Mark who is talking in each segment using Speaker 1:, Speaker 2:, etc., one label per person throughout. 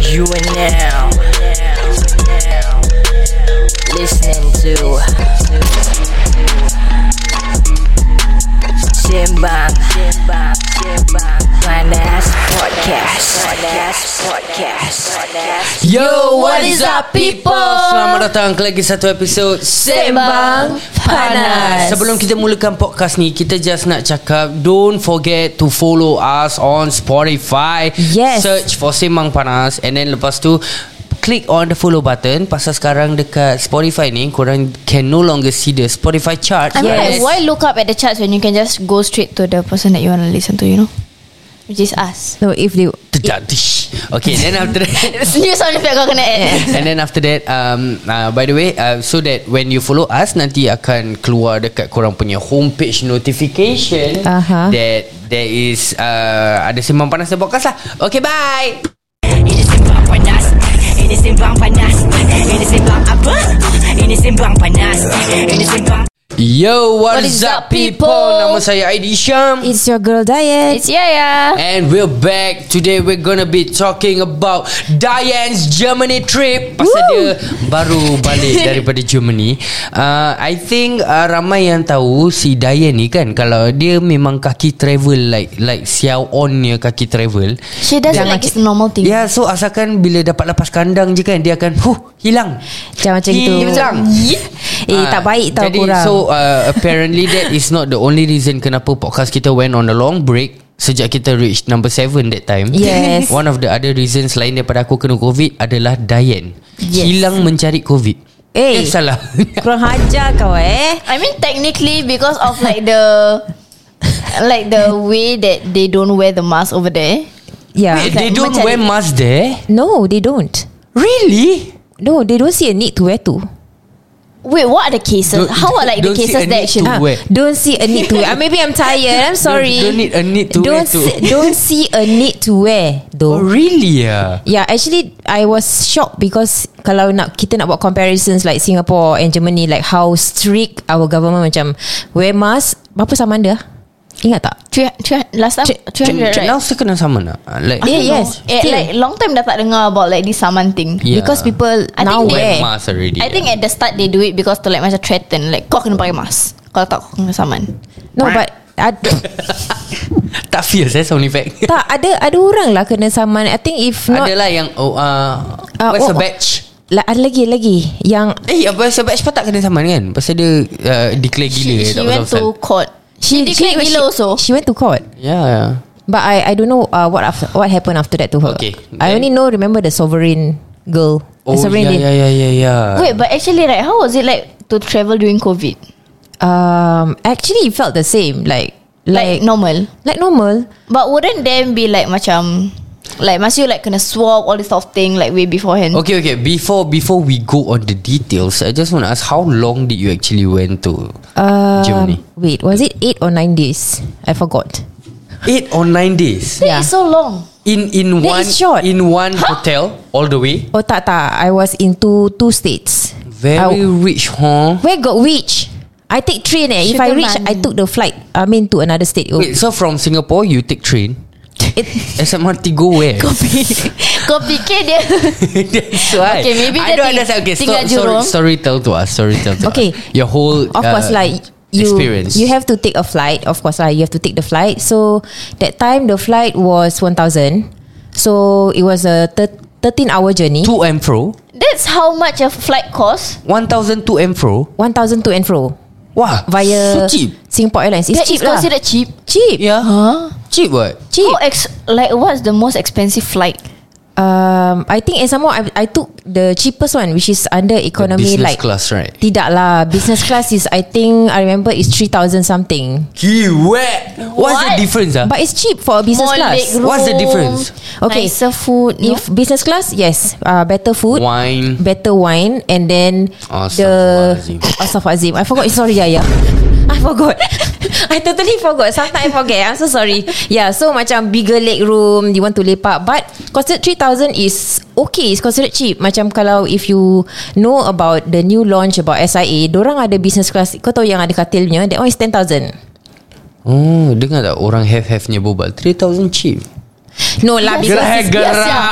Speaker 1: You are now listening to Simbang Panas Podcast. Panas Podcast.
Speaker 2: Yo, what is up people?
Speaker 3: Selamat datang ke lagi satu episod
Speaker 2: Sembang Panas.
Speaker 3: Sebelum kita mulakan podcast ni Kita just nak cakap Don't forget to follow us on Spotify
Speaker 2: Yes.
Speaker 3: Search for Sembang Panas And then lepas tu Click on the follow button Pasal sekarang dekat Spotify ni Korang can no longer see the Spotify chart
Speaker 4: I mean,
Speaker 2: Yes.
Speaker 4: like, why look up at the charts when you can just go straight to the person that you want to listen to, you know? Which is us.
Speaker 2: No, if they
Speaker 3: Tidak dish. Okay then after that
Speaker 4: New sound effect kau kena add.
Speaker 3: And then after that um, uh, By the way uh, So that when you follow us Nanti akan keluar Dekat korang punya Homepage notification
Speaker 2: Aha.
Speaker 3: That There is uh, Ada Sembang Panas The Podcast lah Okay bye
Speaker 5: Ini sembang panas Ini sembang panas Ini sembang apa? Ini sembang panas Ini sembang
Speaker 3: Yo what,
Speaker 4: What
Speaker 3: is
Speaker 4: is
Speaker 3: up
Speaker 4: up,
Speaker 3: people?
Speaker 4: people?
Speaker 3: Nama saya Aidy Syam
Speaker 2: It's your girl diet
Speaker 4: It's Yaya.
Speaker 3: And we're back Today we're gonna be talking about Diane's Germany trip Pasal dia baru balik daripada Germany uh, I think uh, ramai yang tahu si Diane ni kan Kalau dia memang kaki travel like like Xiao On ni kaki travel
Speaker 4: She does it like it's a normal thing.
Speaker 3: Ya yeah, so asalkan bila dapat lepas kandang je kan Dia akan huh hilang
Speaker 2: Jangan macam itu
Speaker 3: Hilang
Speaker 2: Eh
Speaker 3: Ah,
Speaker 2: tak baik tau
Speaker 3: Jadi
Speaker 2: korang
Speaker 3: so uh, apparently that is not the only reason Kenapa podcast kita went on a long break Sejak kita reach number 7 that time
Speaker 2: Yes.
Speaker 3: One of the other reasons lain daripada aku kena covid Adalah Diane yes. Hilang mencari covid
Speaker 2: Eh.
Speaker 3: Eh salah
Speaker 2: Kurang hajar kau eh
Speaker 4: I mean, technically, because of like the... Like the way that they don't wear the mask over there.
Speaker 2: Yeah
Speaker 3: Wait, They don't
Speaker 4: mencari-
Speaker 3: wear mask there
Speaker 2: No they don't
Speaker 3: Really?
Speaker 2: No they don't see a need to wear to
Speaker 4: Wait, what are the cases?
Speaker 3: Don't-
Speaker 4: How are like the
Speaker 3: don't see a
Speaker 4: cases that
Speaker 3: need
Speaker 4: actually...
Speaker 3: to-
Speaker 2: Ah,
Speaker 3: wear.
Speaker 2: Don't see a need to wear Ah, Maybe I'm tired I'm sorry
Speaker 3: Don't- don't need a need to
Speaker 2: don't
Speaker 3: wear to.
Speaker 2: see, Don't see a need to wear
Speaker 3: Oh
Speaker 2: Though
Speaker 3: really ah?
Speaker 2: Yeah actually I was shocked Because Kalau nak kita nak buat comparisons Like Singapore and Germany Like how strict Our government macam Wear mask Berapa samaan dia ah? Ingat tak?
Speaker 4: Three- three- Last time,
Speaker 3: Cik,
Speaker 4: 300,
Speaker 3: cik
Speaker 4: right?
Speaker 3: Nau saya kena sama nak Ah, Like
Speaker 4: I
Speaker 2: Yeah,
Speaker 4: don't know.
Speaker 2: yes.
Speaker 4: Eh,
Speaker 2: Still.
Speaker 4: like long time dah tak dengar about like this saman thing.
Speaker 3: Yeah.
Speaker 2: Because people
Speaker 4: I
Speaker 2: Now
Speaker 4: think
Speaker 3: wear
Speaker 4: they-
Speaker 2: wear
Speaker 3: mask already ya?
Speaker 4: I think at the start they do it because to like macam threaten like kau kena pakai mask. Kalau tak kau kena saman.
Speaker 2: No but ada,
Speaker 3: Tak fierce eh sound effect
Speaker 2: Tak ada Ada orang lah Kena saman I think if not
Speaker 3: Adalah yang oh, uh,
Speaker 2: Ah,
Speaker 3: Where's
Speaker 2: oh,
Speaker 3: the
Speaker 2: oh.
Speaker 3: batch?
Speaker 2: la, Ada lagi lagi Yang
Speaker 3: Eh apa sebab Ashpa tak kena saman kan Pasal dia uh, Declare
Speaker 2: eh,
Speaker 3: gila
Speaker 4: She, she
Speaker 3: tak
Speaker 4: went
Speaker 3: pasal-pasal.
Speaker 4: to court. She, she declared gila also.
Speaker 2: She went to court
Speaker 3: Ya yeah.
Speaker 2: But I I don't know uh, What after, what happened after that to her
Speaker 3: Okay.
Speaker 2: I only know Remember the sovereign girl
Speaker 3: Oh
Speaker 2: the sovereign
Speaker 3: ya
Speaker 2: lady.
Speaker 3: ya ya ya ya
Speaker 4: Wait, but actually right, how was it like to travel during COVID?
Speaker 2: Um, Actually it felt the same Like
Speaker 4: Like,
Speaker 2: Like,
Speaker 4: normal.
Speaker 2: like normal
Speaker 4: But wouldn't them be like macam like must you like kena swab all this sort of thing like way beforehand?
Speaker 3: Okay okay Before before we go on the details I just want to ask How long did you actually went to
Speaker 2: um,
Speaker 3: Germany?
Speaker 2: Wait was it 8 or 9 days I forgot
Speaker 3: Eight or nine days
Speaker 4: That
Speaker 2: yeah.
Speaker 4: is so long.
Speaker 3: In in one
Speaker 2: That is short.
Speaker 3: In one hotel All the way
Speaker 2: Oh tak tak I was in two, two states
Speaker 3: Very
Speaker 2: I,
Speaker 3: rich huh
Speaker 2: Where got which I take train eh If I
Speaker 4: Sugar
Speaker 2: reach
Speaker 4: money.
Speaker 2: I took the flight I mean to another state oh.
Speaker 3: Wait so from Singapore You take train
Speaker 2: It,
Speaker 3: SMRT go where
Speaker 4: kau fikir dia
Speaker 3: That's why
Speaker 4: Okay,
Speaker 3: I
Speaker 4: maybe dia
Speaker 3: don't
Speaker 4: ting-
Speaker 3: understand Okay so,
Speaker 4: tinggal
Speaker 3: sorry,
Speaker 4: Jurong.
Speaker 3: sorry tell to us Sorry tell to
Speaker 2: Okay.
Speaker 3: us Your whole
Speaker 2: of
Speaker 3: uh,
Speaker 2: course like you
Speaker 3: Experience
Speaker 2: you have to take a flight of course like you have to take the flight so that time the flight was 1000 so it was a thir- 13 hour journey
Speaker 3: To and fro
Speaker 4: That's how much a flight cost
Speaker 3: 1000 to and fro
Speaker 2: 1000 to and fro
Speaker 3: Wah So
Speaker 2: via
Speaker 3: cheap
Speaker 2: Singapore Airlines it's
Speaker 4: That is
Speaker 2: cheap lah
Speaker 4: considered cheap
Speaker 2: cheap
Speaker 3: Yeah
Speaker 4: Huh?
Speaker 3: Cheap what
Speaker 2: cheap
Speaker 4: How ex- like what's the most expensive flight?
Speaker 2: um, I think and some more I, I took the cheapest one which is under economy
Speaker 3: business
Speaker 2: like
Speaker 3: class, right?
Speaker 2: tidak lah business class is I think I remember is 3000 something
Speaker 3: Kiwet What's the
Speaker 4: What?
Speaker 3: difference ah?
Speaker 2: but it's cheap for a business
Speaker 4: More
Speaker 2: class
Speaker 4: legroom,
Speaker 3: What's the difference?
Speaker 2: Okay.
Speaker 4: Nicer food. no?
Speaker 2: if business class yes uh, better food
Speaker 3: Wine
Speaker 2: better wine and then the
Speaker 3: Astaghfirullahalazim.
Speaker 2: Astaghfirullahalazim. I forgot. Sorry, yeah, yeah. I forgot. I totally forgot. Sometimes I forget. I'm so sorry. Yeah, so macam bigger leg room, you want to lepak, but considered 3000 is okay. It's considered cheap. Macam kalau if you know about the new launch about SIA, dorang ada business class. Kau tahu yang ada katil punya, that one is 10,000.
Speaker 3: Oh Dengar tak Orang have-have nya bobal 3000 cheap
Speaker 2: No lah
Speaker 3: Yes,
Speaker 2: because
Speaker 3: yes,
Speaker 2: it's,
Speaker 3: yes, yes. Gerak.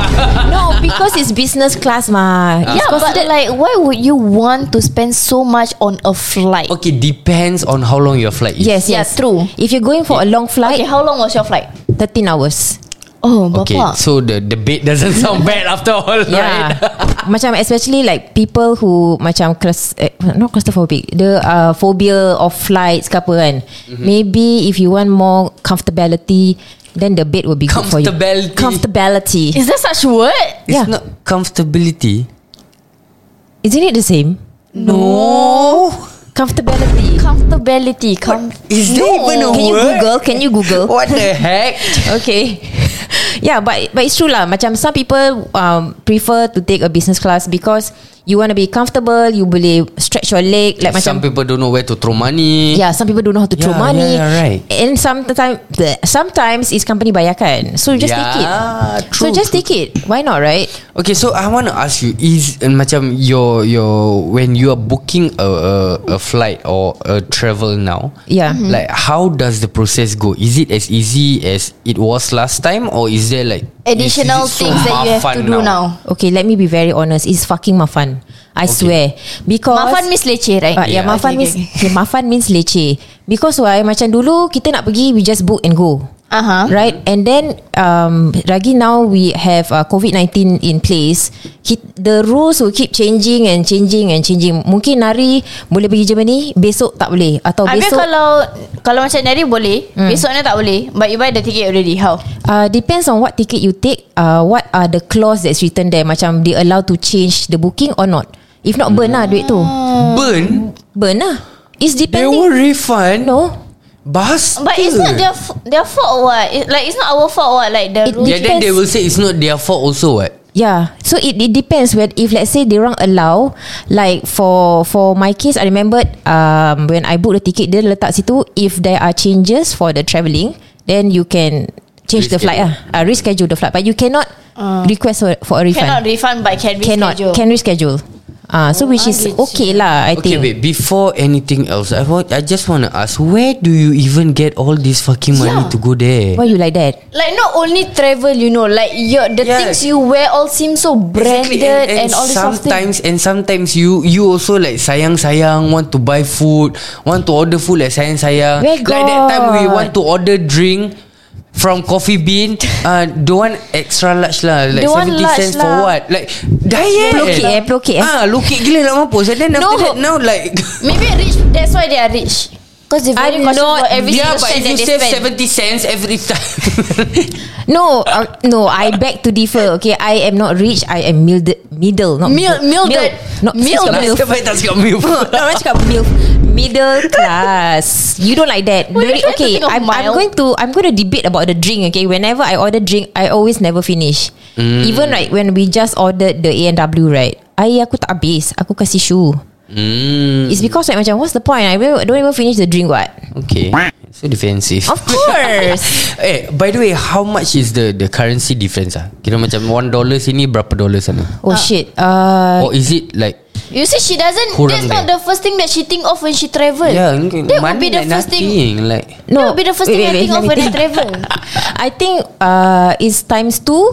Speaker 2: No because it's business class mah It's
Speaker 4: Yeah, but
Speaker 2: considered-
Speaker 4: like, why would you want to spend so much on a flight?
Speaker 3: Okay, depends on how long your flight is.
Speaker 2: Yes
Speaker 4: Yeah,
Speaker 2: yes
Speaker 4: true.
Speaker 2: If you're going for a long
Speaker 4: Okay,
Speaker 2: flight
Speaker 4: how long was your flight?
Speaker 2: 13 hours
Speaker 4: Oh,
Speaker 3: Okay,
Speaker 4: bapa.
Speaker 3: so the debate doesn't sound bad after all,
Speaker 2: Yeah
Speaker 3: right?
Speaker 2: Ya. Macam especially like People who Macam claus, eh, Not claustrophobic The uh, phobia of flights ke apa kan
Speaker 3: Mhm.
Speaker 2: Maybe if you want more comfortability Then the bed will be good for you
Speaker 3: Comfortability.
Speaker 2: Comfortability
Speaker 4: Is there such word?
Speaker 2: Yeah.
Speaker 3: It's not comfortability.
Speaker 2: Isn't it the same?
Speaker 3: No.
Speaker 2: Comfortability
Speaker 4: Comfortability. Com-
Speaker 3: Is there even a
Speaker 2: Can you
Speaker 3: word?
Speaker 2: google Can you google
Speaker 3: What the heck?
Speaker 2: Okay Yeah but But it's true lah Macam some people um, Prefer to take a business class Because You want to be comfortable You boleh Stretch your leg Like
Speaker 3: Some
Speaker 2: macam
Speaker 3: people don't know where to throw money.
Speaker 2: Yeah, some people don't know how to throw
Speaker 3: Eh? Yeah,
Speaker 2: money.
Speaker 3: yeah, yeah, right.
Speaker 2: And sometimes, sometimes it's company bayarkan. So you just
Speaker 3: Yeah,
Speaker 2: take it. so
Speaker 3: true,
Speaker 2: just
Speaker 3: true,
Speaker 2: take it. Why not, right?
Speaker 3: Okay, so I want to ask you is uh, macam your your when you are booking a a, a flight or a travel now.
Speaker 2: Yeah.
Speaker 4: Mm-hmm.
Speaker 2: Mhm.
Speaker 3: Like how does the process go? Is it as easy as it was last time or is there like
Speaker 4: Additional
Speaker 3: is- is it so
Speaker 4: things that you have
Speaker 3: mafan
Speaker 4: to do now.
Speaker 2: Okay, let me be very honest. It's fucking mafan. I swear. Because
Speaker 4: Mafan means leceh, right?
Speaker 2: Uh,
Speaker 3: Yeah.
Speaker 2: yeah, mafan
Speaker 4: Okay,
Speaker 2: means okay, mafan means leceh. Because why? Macam dulu kita nak pergi, we just book and go.
Speaker 4: Uh-huh.
Speaker 2: Right And then um, Lagi now we have uh, COVID-19 in place Ki- The rules will keep changing And changing and changing Mungkin hari Boleh pergi Germany Besok tak boleh Atau
Speaker 4: Habis
Speaker 2: besok
Speaker 4: kalau kalau macam Nari boleh, mm. besoknya tak boleh. But you buy the ticket already. How?
Speaker 2: uh, Depends on what ticket you take uh, What are the clause that's written there Macam they allow to change The booking or not If not burn lah duit tu
Speaker 4: Mm.
Speaker 3: Burn?
Speaker 2: Burn lah It's
Speaker 3: They
Speaker 2: depending
Speaker 3: will refund.
Speaker 2: No
Speaker 3: Bas.
Speaker 4: But it's not their f- their fault. What? It, like it's not our fault. What? Like the
Speaker 2: It-
Speaker 4: rules.
Speaker 3: Yeah, then
Speaker 2: depends.
Speaker 3: they will say it's not their fault also what?
Speaker 2: Yeah, so it, it depends where if let's say they orang allow like for for my case I remembered um when I book the ticket dia letak situ if there are changes for the travelling then you can change the flight ah uh, reschedule the flight but you cannot request for, for a
Speaker 4: Ah. Cannot refund
Speaker 2: refund
Speaker 4: but can
Speaker 2: cannot
Speaker 4: reschedule.
Speaker 2: can reschedule ah uh, so which is okay lah I
Speaker 3: Okay,
Speaker 2: think
Speaker 3: wait. Before anything else, I want. I just want to ask, where do you even get all this fucking money
Speaker 4: Yeah.
Speaker 3: to go there?
Speaker 2: why you like that
Speaker 4: Like not only travel, you know, like your the
Speaker 3: Yeah.
Speaker 4: things you wear all seem so branded
Speaker 3: Exactly,
Speaker 4: and, all this sort of thing.
Speaker 3: sometimes and sometimes you you also like sayang sayang want to buy food, want to order food like sayang sayang.
Speaker 2: Where
Speaker 3: Like that time we
Speaker 2: got?
Speaker 3: want to order drink from coffee bean. Uh, don't want extra large lah. Like
Speaker 4: Don't want
Speaker 3: seventy
Speaker 4: large
Speaker 3: cents for
Speaker 4: lah.
Speaker 3: what? Like diet.
Speaker 2: Pelukit eh, pelukit eh.
Speaker 3: Ah, lukit gila nak mampus. And then
Speaker 4: No.
Speaker 3: after that now like.
Speaker 4: Maybe rich. That's why they are rich. Because they very
Speaker 2: I'm
Speaker 4: cautious
Speaker 2: not-
Speaker 4: about every
Speaker 3: yeah,
Speaker 4: single
Speaker 3: but
Speaker 4: cent
Speaker 3: if you
Speaker 4: that they
Speaker 3: save
Speaker 4: spend.
Speaker 3: seventy cents every time.
Speaker 2: no uh, no I beg to differ okay I am not rich I am middle middle not
Speaker 4: Mil- milded.
Speaker 2: not
Speaker 4: Milded.
Speaker 2: milf.
Speaker 3: Nasib baik tak cakap milf
Speaker 2: Orang cakap milf Middle class You don't like that
Speaker 4: Why
Speaker 2: Very,
Speaker 4: you try to
Speaker 2: Okay
Speaker 4: think of
Speaker 2: I'm, I'm
Speaker 4: mild?
Speaker 2: going to I'm going to debate about the drink Okay Whenever I order drink I always never finish Even like When we just ordered The A&W right Air aku tak habis Aku kasih shoe
Speaker 4: Hmm,
Speaker 3: mm,
Speaker 2: It's because like Macam what's the point I don't don't even finish the drink what
Speaker 3: Okay So defensive
Speaker 2: Of course
Speaker 3: Eh by the way How much is the The currency difference ah? Kira macam one dollar sini Berapa dollar sana
Speaker 2: Oh shit uh,
Speaker 3: Or is it like
Speaker 4: You see, she doesn't.
Speaker 3: Kurang
Speaker 4: that's not
Speaker 3: there.
Speaker 4: the first thing that she think of when she travel.
Speaker 3: Yeah
Speaker 4: eh, that would be the first thing.
Speaker 3: Like
Speaker 4: That would be the first thing
Speaker 2: wait, wait,
Speaker 4: I
Speaker 2: wait,
Speaker 4: think of
Speaker 2: let me
Speaker 4: when I
Speaker 2: think.
Speaker 4: travel.
Speaker 2: I think uh, It's times two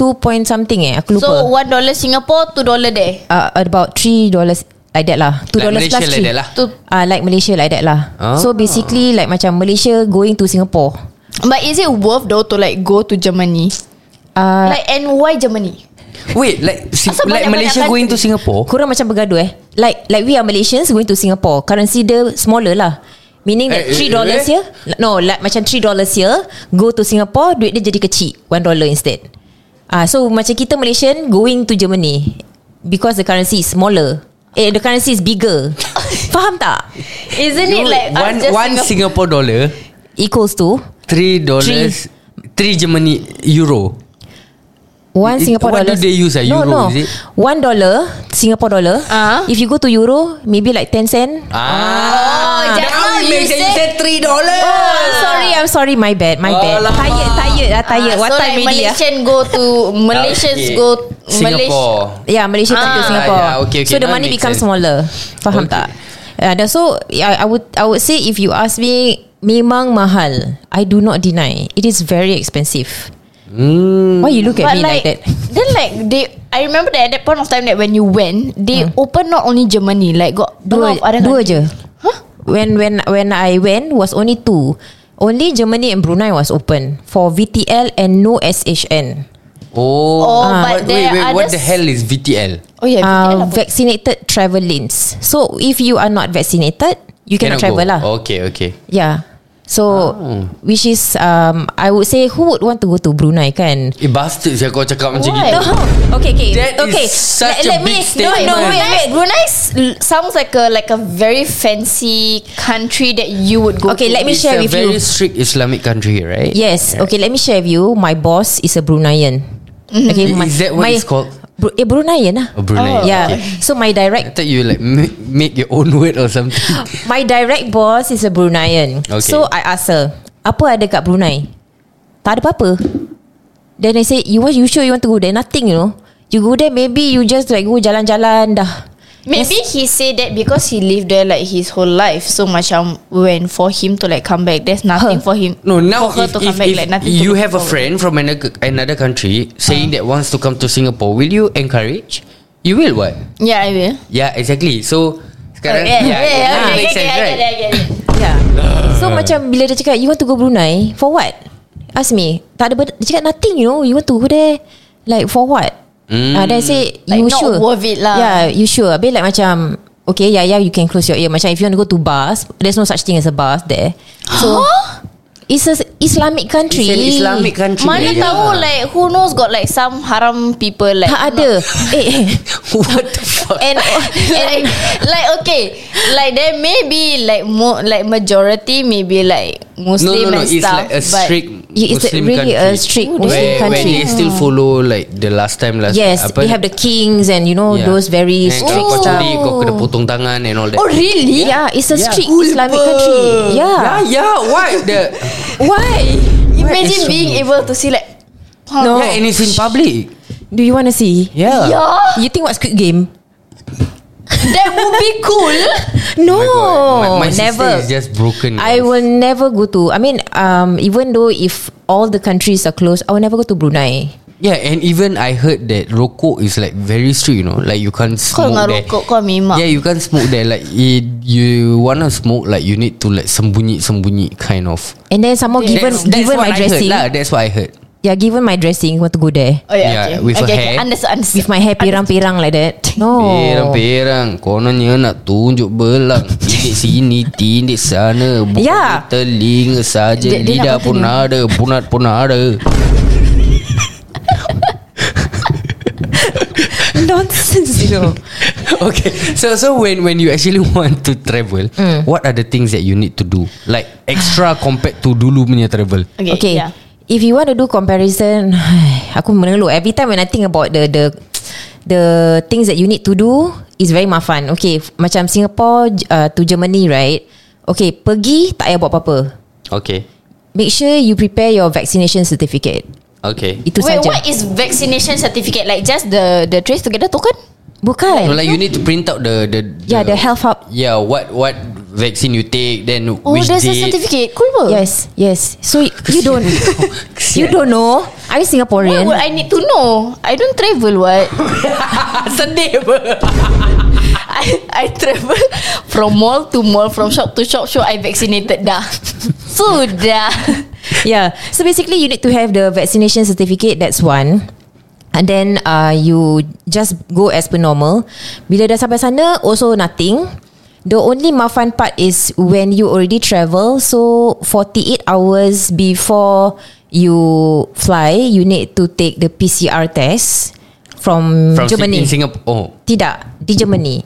Speaker 2: Two point something eh Aku lupa
Speaker 4: So one dollar Singapore, two dollar there.
Speaker 2: uh, about three dollars like that lah. Two
Speaker 3: Like
Speaker 2: dollars
Speaker 3: Malaysia
Speaker 2: plus
Speaker 3: like
Speaker 2: three.
Speaker 3: that lah.
Speaker 4: Two-
Speaker 2: uh, like Malaysia like that lah.
Speaker 3: Ah.
Speaker 2: So basically like macam Malaysia going to Singapore.
Speaker 4: But is it worth though to like go to Germany?
Speaker 2: Uh,
Speaker 4: Like and why Germany?
Speaker 3: Wait like si-
Speaker 4: Asal
Speaker 3: Like
Speaker 4: banyak-banyak
Speaker 3: Malaysia
Speaker 4: country?
Speaker 3: going to Singapore
Speaker 2: korang macam bergaduh eh. Like like we are Malaysians going to Singapore. Currency dia smaller lah. Meaning
Speaker 3: Eh,
Speaker 2: that
Speaker 3: eh,
Speaker 2: three dollars
Speaker 3: eh.
Speaker 2: here No like macam three dollars here Go to Singapore Duit dia jadi kecil One dollar instead Ah, So macam kita Malaysian Going to Germany Because the currency is smaller Eh the currency is bigger Faham tak?
Speaker 4: Isn't it like us
Speaker 3: One,
Speaker 4: just
Speaker 3: one
Speaker 4: Singapore-
Speaker 3: Singapore dollar
Speaker 2: Equals to
Speaker 3: Three dollars Three Germany Euro
Speaker 2: One
Speaker 3: It-
Speaker 2: Singapore
Speaker 3: what
Speaker 2: dollar.
Speaker 3: do they use, ah?
Speaker 2: no,
Speaker 3: Euro,
Speaker 2: no.
Speaker 3: is it?
Speaker 2: One dollar Singapore dollar.
Speaker 4: Ah.
Speaker 2: If you go to euro, maybe like ten cent.
Speaker 3: Ah,
Speaker 4: Oh, just now
Speaker 3: Now it
Speaker 4: you
Speaker 3: makes sense. You
Speaker 4: said.
Speaker 3: said three dollars
Speaker 2: Oh, I'm sorry, I'm sorry, my bad, my bad.
Speaker 3: Alamak.
Speaker 2: Tired, tired, ah, tired. What
Speaker 4: so
Speaker 2: time
Speaker 4: like
Speaker 2: already? ah?
Speaker 4: Malaysian go to Malaysians
Speaker 3: Okay.
Speaker 4: go
Speaker 3: Singapore
Speaker 4: Malaysia.
Speaker 2: Yeah, Malaysia tak to
Speaker 4: Ah.
Speaker 2: Singapore.
Speaker 3: Yeah, okay, okay.
Speaker 2: So the
Speaker 3: Now
Speaker 2: money
Speaker 3: makes
Speaker 2: becomes
Speaker 3: sense.
Speaker 2: smaller. Faham
Speaker 3: Okay.
Speaker 2: tak? Yeah, dan so yeah, I would I would say if you ask me memang mahal. I do not deny. It is very expensive.
Speaker 3: Hmm.
Speaker 2: Why you look at me like, that?
Speaker 4: Then like they, I remember that at that point of time that when you went, they opened not only Germany, like got a lot
Speaker 2: Dua,
Speaker 4: of other
Speaker 2: dua
Speaker 4: countries.
Speaker 2: je. Huh? When when when I went was only two. Only Germany and Brunei was open for VTL and no SHN.
Speaker 3: Oh,
Speaker 4: Oh,
Speaker 3: wait,
Speaker 4: but
Speaker 3: wait,
Speaker 4: there
Speaker 3: wait
Speaker 4: are
Speaker 3: what the
Speaker 4: just-
Speaker 3: hell is VTL?
Speaker 4: Oh yeah, VTL
Speaker 2: Uh,
Speaker 4: apa?
Speaker 2: vaccinated travel lanes. So if you are not vaccinated, you cannot, travel lah.
Speaker 3: Oh, okay, okay.
Speaker 2: Yeah. So which is um I would say who would want to go to Brunei kan?
Speaker 3: Eh, bastard saya kau cakap macam
Speaker 4: Why?
Speaker 3: gitu.
Speaker 2: No. Okay, okay.
Speaker 3: That is
Speaker 2: okay.
Speaker 3: such a big
Speaker 2: No,
Speaker 3: statement.
Speaker 2: no, wait, wait.
Speaker 4: Brunei s- l- sounds like a like a very fancy country that you would go.
Speaker 2: Okay,
Speaker 4: to.
Speaker 2: let me
Speaker 3: It's a
Speaker 2: share with
Speaker 3: very
Speaker 2: you.
Speaker 3: strict Islamic country, right?
Speaker 2: Yes. Okay, let me share with you. My boss is a Bruneian. Okay,
Speaker 3: Is- is that what it's called?
Speaker 2: Bru- eh, Bruneian lah.
Speaker 3: Oh, Brunei.
Speaker 2: yeah.
Speaker 3: Okay.
Speaker 2: So
Speaker 3: I
Speaker 2: my direct
Speaker 3: thought you like make, make your own word or something.
Speaker 2: my direct boss is a Bruneian.
Speaker 3: Okay.
Speaker 2: So I ask her, apa ada kat Brunei? Tak ada apa-apa. Then I say, you want you sure you want to go there? Nothing, you know. You go there, maybe you just like go jalan-jalan dah.
Speaker 4: Maybe he said that because he lived there like his whole life. So macam when for him to like come back, there's nothing for him.
Speaker 3: No, now
Speaker 4: for her
Speaker 3: if,
Speaker 4: to
Speaker 3: if,
Speaker 4: come back,
Speaker 3: if
Speaker 4: like nothing. to Uh-huh.
Speaker 3: you
Speaker 4: look
Speaker 3: have a
Speaker 4: forward.
Speaker 3: friend from another, another country saying that wants to come to Singapore, will you encourage? You will what?
Speaker 4: yeah, I will.
Speaker 3: Yeah, exactly. So sekarang
Speaker 4: yeah, yeah, yeah,
Speaker 3: it
Speaker 4: okay,
Speaker 3: makes
Speaker 4: okay,
Speaker 3: sense,
Speaker 4: I
Speaker 3: right?
Speaker 4: get it, I get it.
Speaker 2: Yeah. So macam bila dia cakap You want to go Brunei For what? Ask me Tak ada benda Dia cakap nothing you know You want to go there Like for what?
Speaker 3: Mm.
Speaker 2: Mm. Uh, then I say
Speaker 4: Like,
Speaker 2: You
Speaker 4: not
Speaker 2: sure?
Speaker 4: worth it lah.
Speaker 2: Yeah you sure Habis like macam Okay yeah yeah You can close your ear Macam if you want to go to bars There's no such thing as a bars there So It's a Islamic country
Speaker 3: It's an Islamic country.
Speaker 4: Mana
Speaker 3: yeah.
Speaker 4: tahu like who knows got like some haram people like
Speaker 2: Tak ada Eh
Speaker 3: what the fuck?
Speaker 4: and and like okay like there may be like mo like majority maybe like
Speaker 3: No,
Speaker 4: Muslim
Speaker 3: no, no.
Speaker 4: and
Speaker 3: It's
Speaker 4: stuff
Speaker 3: like a
Speaker 4: but
Speaker 3: strict
Speaker 2: Yeah, it's a-
Speaker 3: Muslim
Speaker 2: really
Speaker 3: country.
Speaker 2: a strict
Speaker 3: where,
Speaker 2: Muslim
Speaker 3: Where
Speaker 2: country. Hmm.
Speaker 3: they still follow like the last time last.
Speaker 2: Yes They have the kings And you know
Speaker 3: Yeah.
Speaker 2: Those
Speaker 3: And
Speaker 2: very
Speaker 3: kalau kau
Speaker 2: strict
Speaker 3: curi,
Speaker 2: stuff
Speaker 3: kau kena potong tangan and all that.
Speaker 4: oh really
Speaker 2: Yeah it's a
Speaker 3: Yeah.
Speaker 2: strict Islamic country
Speaker 3: yeah,
Speaker 2: Yeah
Speaker 3: yeah. Why the?
Speaker 2: Why?
Speaker 4: imagine being able to see like
Speaker 2: No
Speaker 3: Yeah, and it's in public.
Speaker 2: Do you want to see?
Speaker 3: Yeah.
Speaker 4: yeah
Speaker 2: You think what Squid Game?
Speaker 4: that would be cool
Speaker 2: No,
Speaker 3: Oh My God, my, my
Speaker 2: never.
Speaker 3: sister is just broken.
Speaker 2: I
Speaker 3: guys.
Speaker 2: will never go to. I mean, um, even though if all the countries are closed, I will never go to Brunei.
Speaker 3: Yeah, and even I heard that rokok is like very strict, you know, like you can't smoke
Speaker 4: kau dengan
Speaker 3: there.
Speaker 4: rokok kau memang
Speaker 3: Yeah, you can't smoke there. Like it, you wanna smoke, like you need to like sembunyi sembunyi kind of.
Speaker 2: And then somehow given
Speaker 3: that's, that's
Speaker 2: given
Speaker 3: what
Speaker 2: my
Speaker 3: I
Speaker 2: dressing,
Speaker 3: heard lah. That's what I heard.
Speaker 2: yeah, given my dressing, want to go there
Speaker 4: oh yeah,
Speaker 3: Yeah,
Speaker 4: okay.
Speaker 3: with her
Speaker 4: okay,
Speaker 3: hair.
Speaker 4: okay. understand, understand.
Speaker 2: with my hair pirang-pirang like
Speaker 4: Oh.
Speaker 2: that. No,
Speaker 3: Perang-perang Kononnya nak tunjuk belang Tindik sini Tindik sana Bukan
Speaker 2: Yeah.
Speaker 3: telinga saja
Speaker 4: Ya. Dia- dia
Speaker 3: Lidah
Speaker 4: nak
Speaker 3: pun ada Punat pun ada
Speaker 2: nonsense, you know.
Speaker 3: okay. So so when when you actually want to travel,
Speaker 4: Hmm.
Speaker 3: what are the things that you need to do? Like extra compared to dulu punya travel.
Speaker 4: okay,
Speaker 2: Okay.
Speaker 4: yeah.
Speaker 2: If you want to do comparison, aku meneluk every time when I think about the the the things that you need to do is very mafan. Okay, f- macam Singapore uh, to Germany, right? Okay, pergi tak payah buat apa-apa.
Speaker 3: Okay.
Speaker 2: Make sure you prepare your vaccination certificate.
Speaker 3: Okay.
Speaker 2: Itu
Speaker 4: Wait,
Speaker 2: saja.
Speaker 4: what is vaccination certificate? Like just the the trace together token?
Speaker 2: Bukan.
Speaker 3: So like you need to print out the the,
Speaker 2: Yeah, the health hub.
Speaker 3: Yeah, what what vaccine you take, then
Speaker 4: Oh,
Speaker 3: which
Speaker 4: there's a
Speaker 3: date.
Speaker 4: certificate. Cool. Bro.
Speaker 2: Yes, yes. So y- you don't you don't know. Are you
Speaker 4: Why
Speaker 2: Singaporean?
Speaker 4: would I need to know? I don't travel. What?
Speaker 3: Sedih apa?
Speaker 4: I, I travel from mall to mall, from shop to shop. Shop I vaccinated dah. Sudah.
Speaker 2: yeah. So basically, you need to have the vaccination certificate. That's one. And then uh, you just go as per normal. Bila dah sampai sana, also nothing. The only mafan part is when you already travel. So 48 hours before you fly, you need to take the PCR test from,
Speaker 3: From
Speaker 2: Germany.
Speaker 3: Germany. in Singapore. Oh.
Speaker 2: Tidak, di Germany.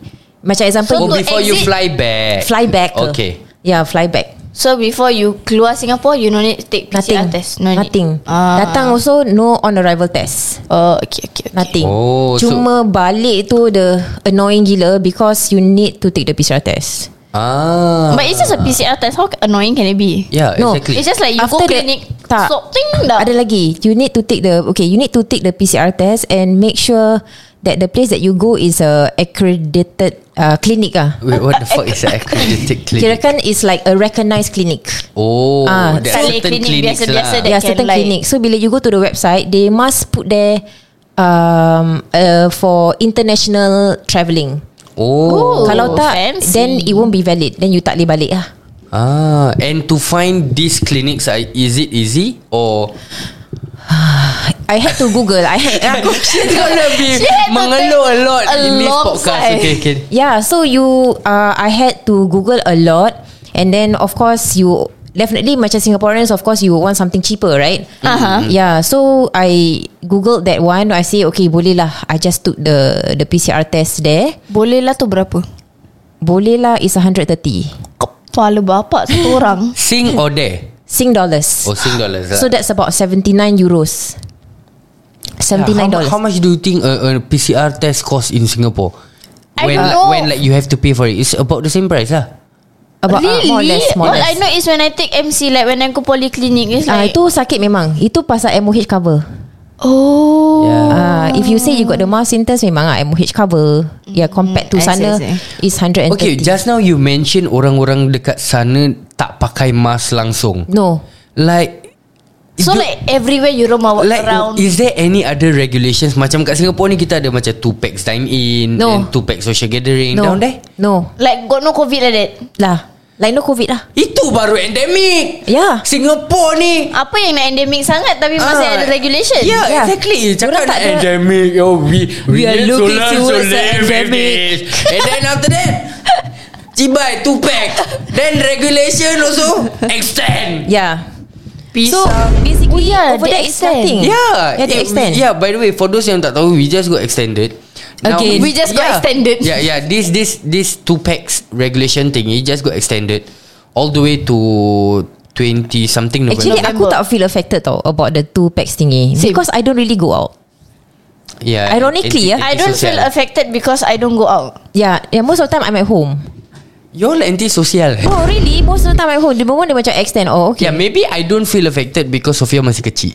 Speaker 2: Macam example,
Speaker 3: Oh,
Speaker 4: to
Speaker 3: before you
Speaker 4: exit-
Speaker 3: fly back.
Speaker 2: fly back. ke.
Speaker 3: Okay.
Speaker 2: Yeah, fly back.
Speaker 4: So before you keluar Singapore, you no need to take
Speaker 2: Nothing.
Speaker 4: PCR test. No
Speaker 2: nothing.
Speaker 4: Need. Ah.
Speaker 2: Datang also no on arrival test.
Speaker 4: Oh, okay, okay. okay.
Speaker 2: Nothing.
Speaker 3: Oh, so-
Speaker 2: Cuma balik tu the annoying gila because you need to take the PCR test.
Speaker 3: Ah.
Speaker 4: But it's just a PCR test. How annoying can it be?
Speaker 3: yeah,
Speaker 2: No,
Speaker 3: exactly.
Speaker 4: It's just like you
Speaker 2: After
Speaker 4: go
Speaker 2: the-
Speaker 4: clinic,
Speaker 2: tak.
Speaker 4: swab thing dah.
Speaker 2: Ada lagi, you need to take the okay, you need to take the PCR test and make sure that the place that you go is a accredited uh, clinic ah.
Speaker 3: Wait, what the fuck is that accredited clinic?
Speaker 2: Kirakan is like a recognised clinic.
Speaker 3: Oh,
Speaker 2: Ah,
Speaker 3: there are
Speaker 4: Saleh
Speaker 3: certain
Speaker 4: clinic
Speaker 3: clinics
Speaker 4: biasa-biasa
Speaker 3: lah.
Speaker 4: dia.
Speaker 2: yeah,
Speaker 4: can
Speaker 2: certain
Speaker 4: like-
Speaker 2: clinic. So bila you go to the website, they must put there um uh, for international travelling.
Speaker 3: Oh.
Speaker 4: Oh,
Speaker 2: Kalau tak,
Speaker 4: fancy.
Speaker 2: then it won't be valid. Then you tak boleh balik lah.
Speaker 3: Ah, and to find these clinics, I- is it easy or
Speaker 2: I had to Google. I had aku,
Speaker 3: it's gonna be
Speaker 4: She had to
Speaker 3: mengeluh a
Speaker 4: take
Speaker 3: lot
Speaker 4: a
Speaker 3: in this
Speaker 4: long
Speaker 3: podcast?
Speaker 4: sigh.
Speaker 3: Okay, okay.
Speaker 2: yeah. So you, uh, I had to Google a lot, and then of course you definitely macam Singaporeans, of course you would want something cheaper, right?
Speaker 3: Mm-hmm.
Speaker 4: Aha.
Speaker 2: Yeah. So I googled that one. I say okay, boleh lah. I just took the the PCR test there.
Speaker 4: Boleh lah tu berapa?
Speaker 2: Boleh lah. It's 130
Speaker 4: Kepala bapak satu orang.
Speaker 3: Sing or dare?
Speaker 2: Sing dollars.
Speaker 3: Oh, sing dollars. lah.
Speaker 2: So that's about 79 euros.
Speaker 3: Yeah, how,
Speaker 2: 79
Speaker 3: mu-
Speaker 2: dollars.
Speaker 3: how much do you think a, a PCR test costs in Singapore?
Speaker 4: I
Speaker 3: when
Speaker 4: don't
Speaker 3: like,
Speaker 4: know.
Speaker 3: when like you have to pay for it, it's about the same price lah.
Speaker 2: About uh,
Speaker 4: really?
Speaker 2: more or less, more or
Speaker 4: What
Speaker 2: less.
Speaker 4: I know is when I take MC like when I go polyclinic is
Speaker 2: Ah,
Speaker 4: like
Speaker 2: itu sakit memang. Itu pasal MOH cover.
Speaker 4: Oh.
Speaker 2: Ah,
Speaker 3: Yeah.
Speaker 2: if you say you got the mild symptoms memang ah MOH cover. Yeah, compared to
Speaker 4: Mm-hmm. I see,
Speaker 2: sana
Speaker 4: I
Speaker 2: is 130.
Speaker 3: Okay, just now you mention orang-orang dekat sana tak pakai mask langsung.
Speaker 2: no.
Speaker 3: Like
Speaker 4: So
Speaker 3: do-
Speaker 4: like everywhere you roam out
Speaker 3: Like
Speaker 4: around.
Speaker 3: Is there any other regulations Macam kat Singapore ni Kita ada macam Two packs dine in
Speaker 2: No.
Speaker 3: And two packs social gathering
Speaker 2: No.
Speaker 3: Down there
Speaker 2: No.
Speaker 4: like got no covid like that.
Speaker 2: Lah. Like no COVID lah. Ya.
Speaker 3: Itu baru endemic
Speaker 2: Yeah.
Speaker 3: Singapore ni
Speaker 4: Apa yang nak endemic sangat tapi masih
Speaker 3: Ah.
Speaker 4: ada regulation.
Speaker 3: Yeah,
Speaker 2: Yeah.
Speaker 3: exactly
Speaker 2: Ya. Orang
Speaker 3: Cakap
Speaker 2: tak
Speaker 3: nak
Speaker 2: ada-
Speaker 3: endemic oh, We, we,
Speaker 2: We are
Speaker 3: need to
Speaker 2: looking
Speaker 3: learn to
Speaker 2: towards the
Speaker 3: live with
Speaker 2: endemic.
Speaker 3: this. And then after that Cibai two pack Then regulation also Extend
Speaker 2: Yeah.
Speaker 4: Peace
Speaker 2: Ya. So
Speaker 4: out.
Speaker 2: basically
Speaker 4: Oh, yeah,
Speaker 2: over
Speaker 4: they
Speaker 2: there is
Speaker 4: extend.
Speaker 2: nothing.
Speaker 3: Yeah,
Speaker 2: Yeah, they
Speaker 3: it-
Speaker 2: extend.
Speaker 3: Yeah, by the way, for those yang tak tahu, we just got extended.
Speaker 2: Again.
Speaker 4: We just got
Speaker 3: yeah,
Speaker 4: extended.
Speaker 3: Yeah, yeah. This this this two packs regulation thing, it just got extended all the way to twenty something
Speaker 2: Actually
Speaker 3: November.
Speaker 2: aku
Speaker 4: November.
Speaker 2: tak feel affected tau about the two packs thingy
Speaker 4: Same.
Speaker 2: because I don't really go out.
Speaker 3: yeah,
Speaker 2: ironically, yeah.
Speaker 4: I don't feel affected because I don't go out.
Speaker 2: Yeah, yeah Ya, most of the time I'm at home.
Speaker 3: You're antisocial.
Speaker 2: Oh really? Most of the time I'm at home. The moment dia macam extend. Oh okay.
Speaker 3: Yeah, maybe I don't feel affected because Sofia masih kecil.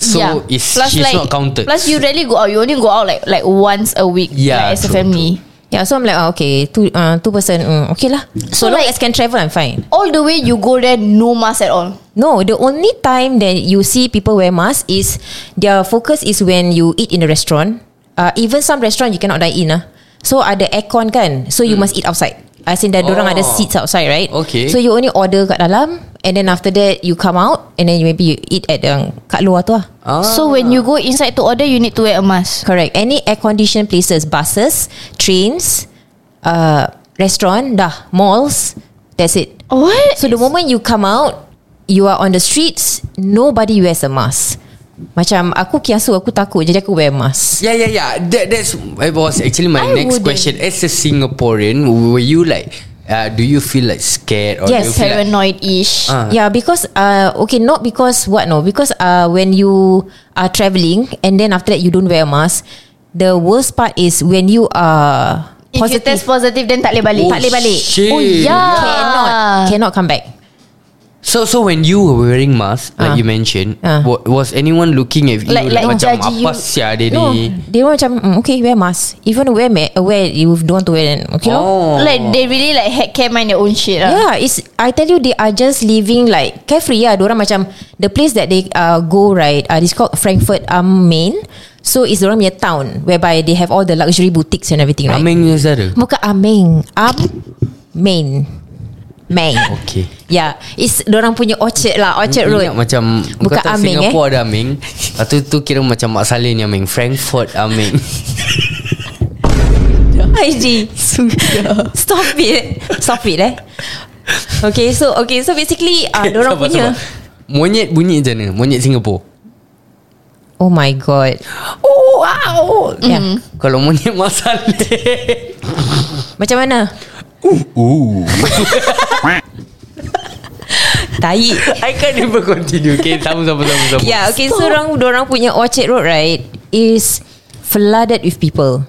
Speaker 3: So
Speaker 4: yeah.
Speaker 3: is she's
Speaker 4: like,
Speaker 3: not counted.
Speaker 4: Plus you rarely go out. You only go out like like once a week.
Speaker 3: Yeah,
Speaker 4: like, as a
Speaker 3: true,
Speaker 4: family.
Speaker 2: Yeah, so I'm like, oh, okay, two uh, two person, mm, okay lah. So,
Speaker 4: So,
Speaker 2: long
Speaker 4: like-
Speaker 2: as can travel, I'm fine.
Speaker 4: All the way you go there, no mask at all.
Speaker 2: No, the only time that you see people wear mask is their focus is when you eat in a restaurant. Uh, even some restaurant you cannot dine in ah. So ada aircon kan, so you must eat outside. As in dah oh.
Speaker 3: Hmm. Oh.
Speaker 2: ada seats outside right
Speaker 3: Okay.
Speaker 2: So you only order kat dalam And then after that You come out And then you maybe you eat at yang Kat luar tu lah
Speaker 3: Ah.
Speaker 4: So when you go inside to order, you need to wear a mask.
Speaker 2: Correct Any air conditioned places Buses Trains uh, Restaurant Dah Malls That's it
Speaker 4: What?
Speaker 2: So the moment you come out You are on the streets Nobody wears a mask Macam aku kiasu Aku takut Jadi aku wear mask
Speaker 3: Yeah, yeah, yeah. That that's it was actually my
Speaker 4: I
Speaker 3: next
Speaker 4: wouldn't.
Speaker 3: question. As a Singaporean, were you like, uh, do you feel like scared or do you
Speaker 2: Yes,
Speaker 3: feel like-
Speaker 4: Paranoid-ish.
Speaker 3: Ah.
Speaker 2: Yeah because uh, Okay not because what no Because uh, when you Are travelling And then after that You don't wear a mask The worst part is When you are
Speaker 4: If you test
Speaker 2: Positive
Speaker 4: positive, then tak boleh balik.
Speaker 3: Oh,
Speaker 4: tak boleh balik.
Speaker 3: shit.
Speaker 4: Oh, yeah.
Speaker 2: Cannot
Speaker 4: Ah.
Speaker 2: Cannot come back
Speaker 3: So so when you were wearing mask like
Speaker 2: Ah.
Speaker 3: you mentioned,
Speaker 2: Ah.
Speaker 3: wa- was anyone looking at you
Speaker 4: Like-
Speaker 3: like,
Speaker 4: like
Speaker 3: macam
Speaker 4: judge
Speaker 3: apa
Speaker 4: you.
Speaker 3: sia dia
Speaker 2: No
Speaker 3: ni?
Speaker 2: They were macam mm, Okay wear mask If you want to wear ma- uh, Wear You don't want to wear then Okay lor.
Speaker 3: Oh.
Speaker 4: Like, they really like head care mind their own shit.
Speaker 3: Uh.
Speaker 4: lah.
Speaker 2: Yeah, it's I tell you they are just living like carefree ya. Diorang macam the place that they uh, go right uh, is called Frankfurt um, Main. So it's diorang punya town whereby they have all the luxury boutiques and everything right.
Speaker 3: Ameng punya saudara.
Speaker 2: Bukan Ameng, Am Main. Main.
Speaker 3: Okay.
Speaker 2: Yeah, it's diorang punya Orchard lah, Orchard Road.
Speaker 3: Ingat macam
Speaker 2: Bukan
Speaker 3: kau tahu
Speaker 2: Ameng,
Speaker 3: Singapore ada Ameng Lepas tu tu kira macam Mak Saleh ni Ameng Frankfurt Ameng
Speaker 2: IG Stop it. Stop it eh. Okay, so okay, so basically ah uh, diorang
Speaker 3: Sabar,
Speaker 2: punya
Speaker 3: sabar. Monyet bunyi macam mana Monyet Singapore
Speaker 2: Oh my god.
Speaker 3: Oh wow Mm.
Speaker 2: Yeah.
Speaker 3: Kalau monyet Mak Saleh
Speaker 2: Macam mana?
Speaker 3: Ooh.
Speaker 2: Tai.
Speaker 3: I can't even continue Okay sama sama sama, sama.
Speaker 2: Ya. Yeah, okay. So orang orang punya Orchard Road right is flooded with people.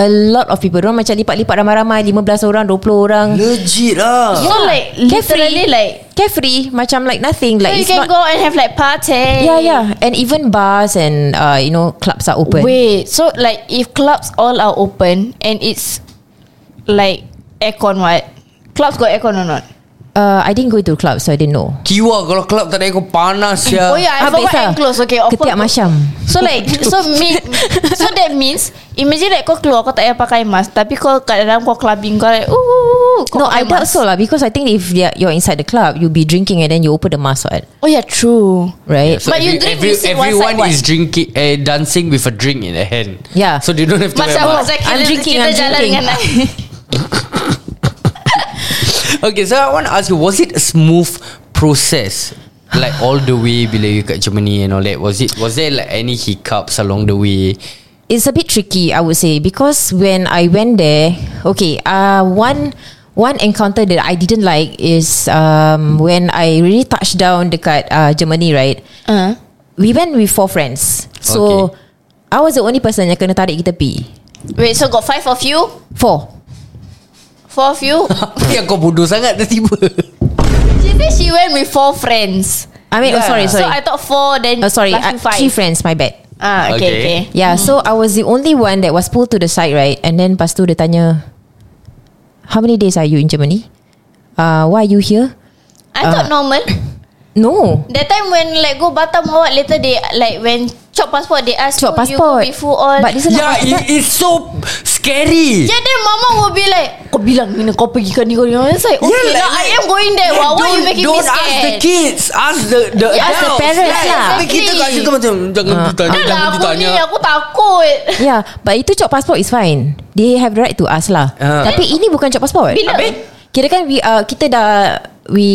Speaker 2: A a lot of people Diorang macam lipat-lipat ramai-ramai 15 orang 20 orang
Speaker 3: Legit lah
Speaker 4: So like Literally like
Speaker 2: Carefree Macam like nothing
Speaker 4: so
Speaker 2: Like
Speaker 4: You
Speaker 2: it's
Speaker 4: can
Speaker 2: not
Speaker 4: go and have like party
Speaker 2: Yeah yeah And even bars And uh, you know Clubs are open
Speaker 4: Wait So like If clubs all are open And it's Like Aircon what Clubs got aircon or not
Speaker 2: uh, I didn't go to clubs So I didn't know
Speaker 3: Kiwa kalau club tak ada ikut panas ya
Speaker 4: Oh yeah I
Speaker 2: Habis
Speaker 4: forgot
Speaker 2: lah.
Speaker 4: enclosed Okay open
Speaker 2: Ketiak macam
Speaker 4: So like So me, So that means Imagine like kau keluar Kau tak payah pakai mask Tapi kau kat dalam Kau clubbing Kau like Ooh, kau
Speaker 2: No
Speaker 4: pakai
Speaker 2: I doubt
Speaker 4: mask.
Speaker 2: so lah Because I think if they are- you're inside the club You'll be drinking And then you open the mask right,
Speaker 4: Oh yeah true
Speaker 2: right?
Speaker 3: So
Speaker 4: But you drink, you sit one
Speaker 3: everyone is
Speaker 4: side, what?
Speaker 3: drinking uh, dancing with a drink in the hand.
Speaker 2: Yeah.
Speaker 3: So they don't have to
Speaker 4: Macam
Speaker 3: wear mask.
Speaker 4: macam kita,
Speaker 2: I'm drinking,
Speaker 4: kita
Speaker 2: I'm
Speaker 4: jalan
Speaker 2: drinking.
Speaker 4: dengan
Speaker 3: Okay, so I want to ask you, was it a smooth process? Like all the way bila you kat Germany and all that. Was it was there like any hiccups along the way?
Speaker 2: it's a bit tricky I would say because when I went there okay uh one one encounter that I didn't like is um when I really touched down dekat uh, Germany right
Speaker 4: uh.
Speaker 2: we went with four friends so
Speaker 3: Okay.
Speaker 2: I was the only person yang kena tarik kita pergi
Speaker 4: Wait so got five of you
Speaker 2: four
Speaker 4: Four of you
Speaker 3: Tapi kau bodoh sangat tiba-tiba.
Speaker 4: She said she went with four friends
Speaker 2: I mean oh,
Speaker 3: Yeah.
Speaker 2: sorry
Speaker 4: So
Speaker 2: sorry
Speaker 4: I thought four Then
Speaker 2: oh, sorry
Speaker 4: last
Speaker 2: uh,
Speaker 4: you five
Speaker 2: three friends my bad
Speaker 4: Ah, okay,
Speaker 3: Okay.
Speaker 4: okay. okay.
Speaker 2: yeah Ya, so I was the only one that was pulled to the side right and then lepas tu dia tanya how many days are you in Germany uh, why are you here
Speaker 4: I thought
Speaker 2: Uh.
Speaker 4: normal.
Speaker 2: no
Speaker 4: That time when like go Batam or what, later they like when chop passport they ask
Speaker 2: Chop
Speaker 4: who
Speaker 2: passport.
Speaker 4: you go with who all.
Speaker 2: But this is
Speaker 3: yeah, Ya, it, it's so scary.
Speaker 4: yeah, then mama will be like, kau bilang ni kau pergi kan ni kau ni. It's like, okay, yeah, now I am going there.
Speaker 3: yeah,
Speaker 4: Yeah, why you
Speaker 3: don't-
Speaker 4: making me
Speaker 3: Don't ask the
Speaker 4: scared?
Speaker 3: kids Ask the, the
Speaker 4: Yeah, ask the
Speaker 3: adults.
Speaker 2: parents lah.
Speaker 3: Tapi kita kat situ macam Jangan ditanya
Speaker 4: Dah
Speaker 3: Jangan
Speaker 4: lah, aku ni
Speaker 3: ditanya
Speaker 4: aku takut.
Speaker 2: Yeah ya, But itu cop passport is fine They have the right to ask lah
Speaker 3: Ah.
Speaker 2: uh. Tapi ini bukan cop passport
Speaker 4: Bila? Habis?
Speaker 2: Kira kan we, uh, kita dah We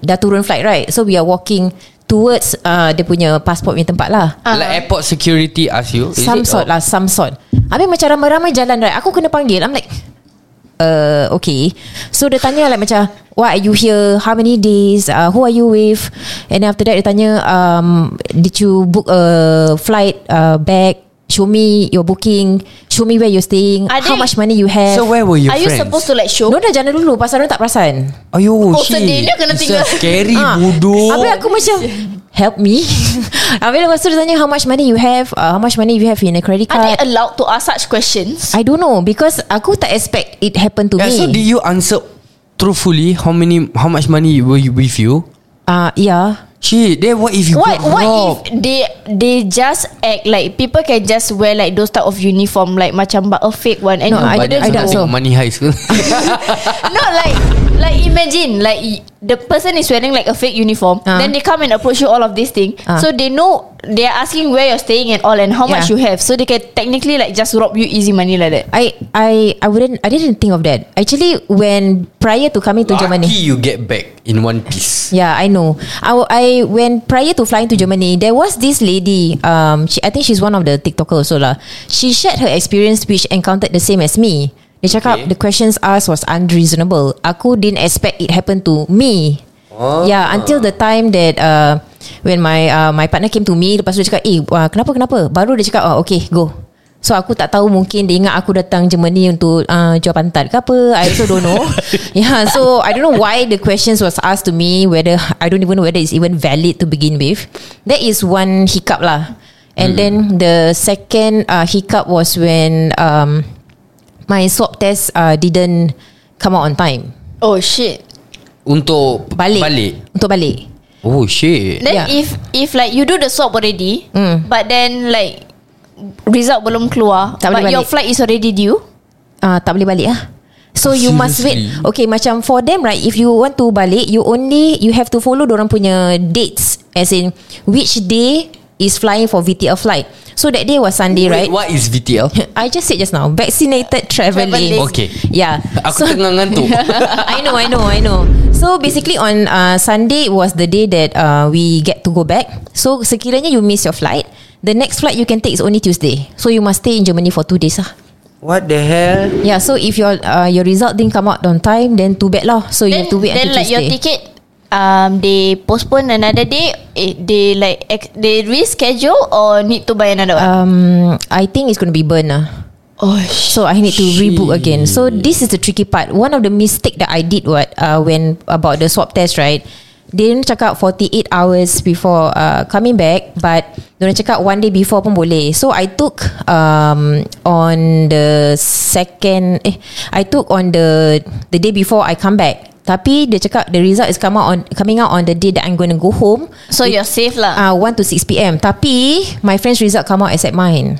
Speaker 2: Dah turun flight right So we are walking Towards uh, Dia punya passport punya tempat lah
Speaker 4: Ah.
Speaker 3: Like airport security ask you is
Speaker 2: Some
Speaker 3: it?
Speaker 2: sort
Speaker 3: Oh.
Speaker 2: lah Some sort Habis macam ramai-ramai jalan right Aku kena panggil I'm like Uh, okay So dia tanya like macam Why are you here How many days uh, Who are you with And then after that Dia tanya um, Did you book a flight uh, back Show me your booking Show me where you're staying
Speaker 4: Are
Speaker 2: How
Speaker 4: they-
Speaker 2: much money you have
Speaker 3: So where were your
Speaker 4: Are you
Speaker 3: friends?
Speaker 4: supposed to like show?
Speaker 2: No dah jalan dulu Pasal orang tak perasan
Speaker 3: Ayo
Speaker 4: Oh,
Speaker 3: shit
Speaker 4: sedih dia kena
Speaker 3: It's
Speaker 4: tinggal.
Speaker 3: so scary
Speaker 2: Ah.
Speaker 3: bodoh
Speaker 2: Habis aku macam Help me Habis lepas tu dia tanya How much money you have uh, How much money you have in a credit
Speaker 4: Are
Speaker 2: card
Speaker 4: they allowed to ask such questions?
Speaker 2: I don't know because aku tak expect it happen to
Speaker 3: yeah,
Speaker 2: me.
Speaker 3: So did you answer Truthfully How many How much money were you with you
Speaker 2: Ah, uh, yeah.
Speaker 3: Shit Then what if you
Speaker 4: What
Speaker 3: got
Speaker 4: what
Speaker 3: robbed?
Speaker 4: if they they just act like people can just wear like those type of uniform like macam but a fake one and
Speaker 2: No,
Speaker 4: you
Speaker 2: I-
Speaker 4: wouldn't
Speaker 2: I
Speaker 4: Ah, know.
Speaker 2: doubt so.
Speaker 3: Money high school
Speaker 4: No, like like imagine like y- the person is wearing like a fake uniform.
Speaker 2: Ah.
Speaker 4: Then they come and approach you all of this thing.
Speaker 2: Ah.
Speaker 4: So they know they are asking where you're staying and all and how much
Speaker 2: Yeah.
Speaker 4: you have. So they can technically like just rob you easy money like that.
Speaker 2: I I I wouldn't I didn't think of that. Actually when prior to coming to
Speaker 3: Lucky
Speaker 2: Germany.
Speaker 3: you get back In one piece
Speaker 2: Yeah, I know. I, wa- I when prior to flying to Germany, there was this lady. Um, she, I think she's one of the TikToker also lah. She shared her experience which encountered the same as me. Dia cakap
Speaker 3: Okay.
Speaker 2: the questions asked was unreasonable. Aku didn't expect it happened to me.
Speaker 3: Oh.
Speaker 2: Yeah, until the time that uh, when my uh, my partner came to me, lepas tu dia cakap, eh, uh, kenapa kenapa? Baru dia cakap, oh, okay, go. So aku tak tahu mungkin dia ingat aku datang Germany untuk uh, jual pantat ke apa. I also don't know. yeah, so I don't know why the questions was asked to me whether I don't even know whether it's even valid to begin with. That is one hiccup lah. And then the second uh, hiccup was when um, my swab test uh, didn't come out on time.
Speaker 4: Oh shit.
Speaker 3: Untuk
Speaker 2: Balik.
Speaker 3: Balik
Speaker 2: Untuk balik.
Speaker 3: Oh shit
Speaker 4: Then
Speaker 2: Yeah.
Speaker 4: if if like you do the swab already,
Speaker 2: Mm.
Speaker 4: but then like result belum keluar,
Speaker 2: Tak
Speaker 4: but
Speaker 2: boleh
Speaker 4: your
Speaker 2: balik.
Speaker 4: flight is already due.
Speaker 2: uh, tak boleh balik lah. So you must wait.
Speaker 3: Seriously?
Speaker 2: Okay, macam for them right, if you want to balik, you only you have to follow orang punya dates as in which day is flying for VTL flight. So that day was Sunday,
Speaker 3: Wait,
Speaker 2: right?
Speaker 3: What is VTL?
Speaker 2: I just said just now, vaccinated traveling.
Speaker 4: Traveling.
Speaker 3: Okay.
Speaker 2: Yeah.
Speaker 3: Aku tengah ngantuk
Speaker 2: I know, I know, I know. So basically on uh, Sunday was the day that uh, we get to go back. So sekiranya you miss your flight, the next flight you can take is only Tuesday. So you must stay in Germany for two days lah.
Speaker 3: What the hell
Speaker 2: Yeah, so if your uh, your result didn't come out on time, then too bad lah. So you
Speaker 4: then,
Speaker 2: have to wait
Speaker 4: then
Speaker 2: until
Speaker 4: like your
Speaker 2: Tuesday.
Speaker 4: ticket um they postpone another day eh, they like ex- they reschedule or need to buy another one
Speaker 2: um, I think it's going to be burn lah.
Speaker 4: Oh, sh-
Speaker 2: So I need to rebook again. So this is the tricky part. One of the mistake that I did what uh, when about the swab test, right? Dia orang cakap 48 hours before uh, coming back but dia orang cakap one day before pun boleh. So I took um, on the second eh I took on the the day before I come back. Tapi dia cakap the result is come out on coming out on the day that I'm going to go home.
Speaker 4: so you're safe lah.
Speaker 2: Uh, 1 to 6 pm. Tapi my friend's result come out except mine.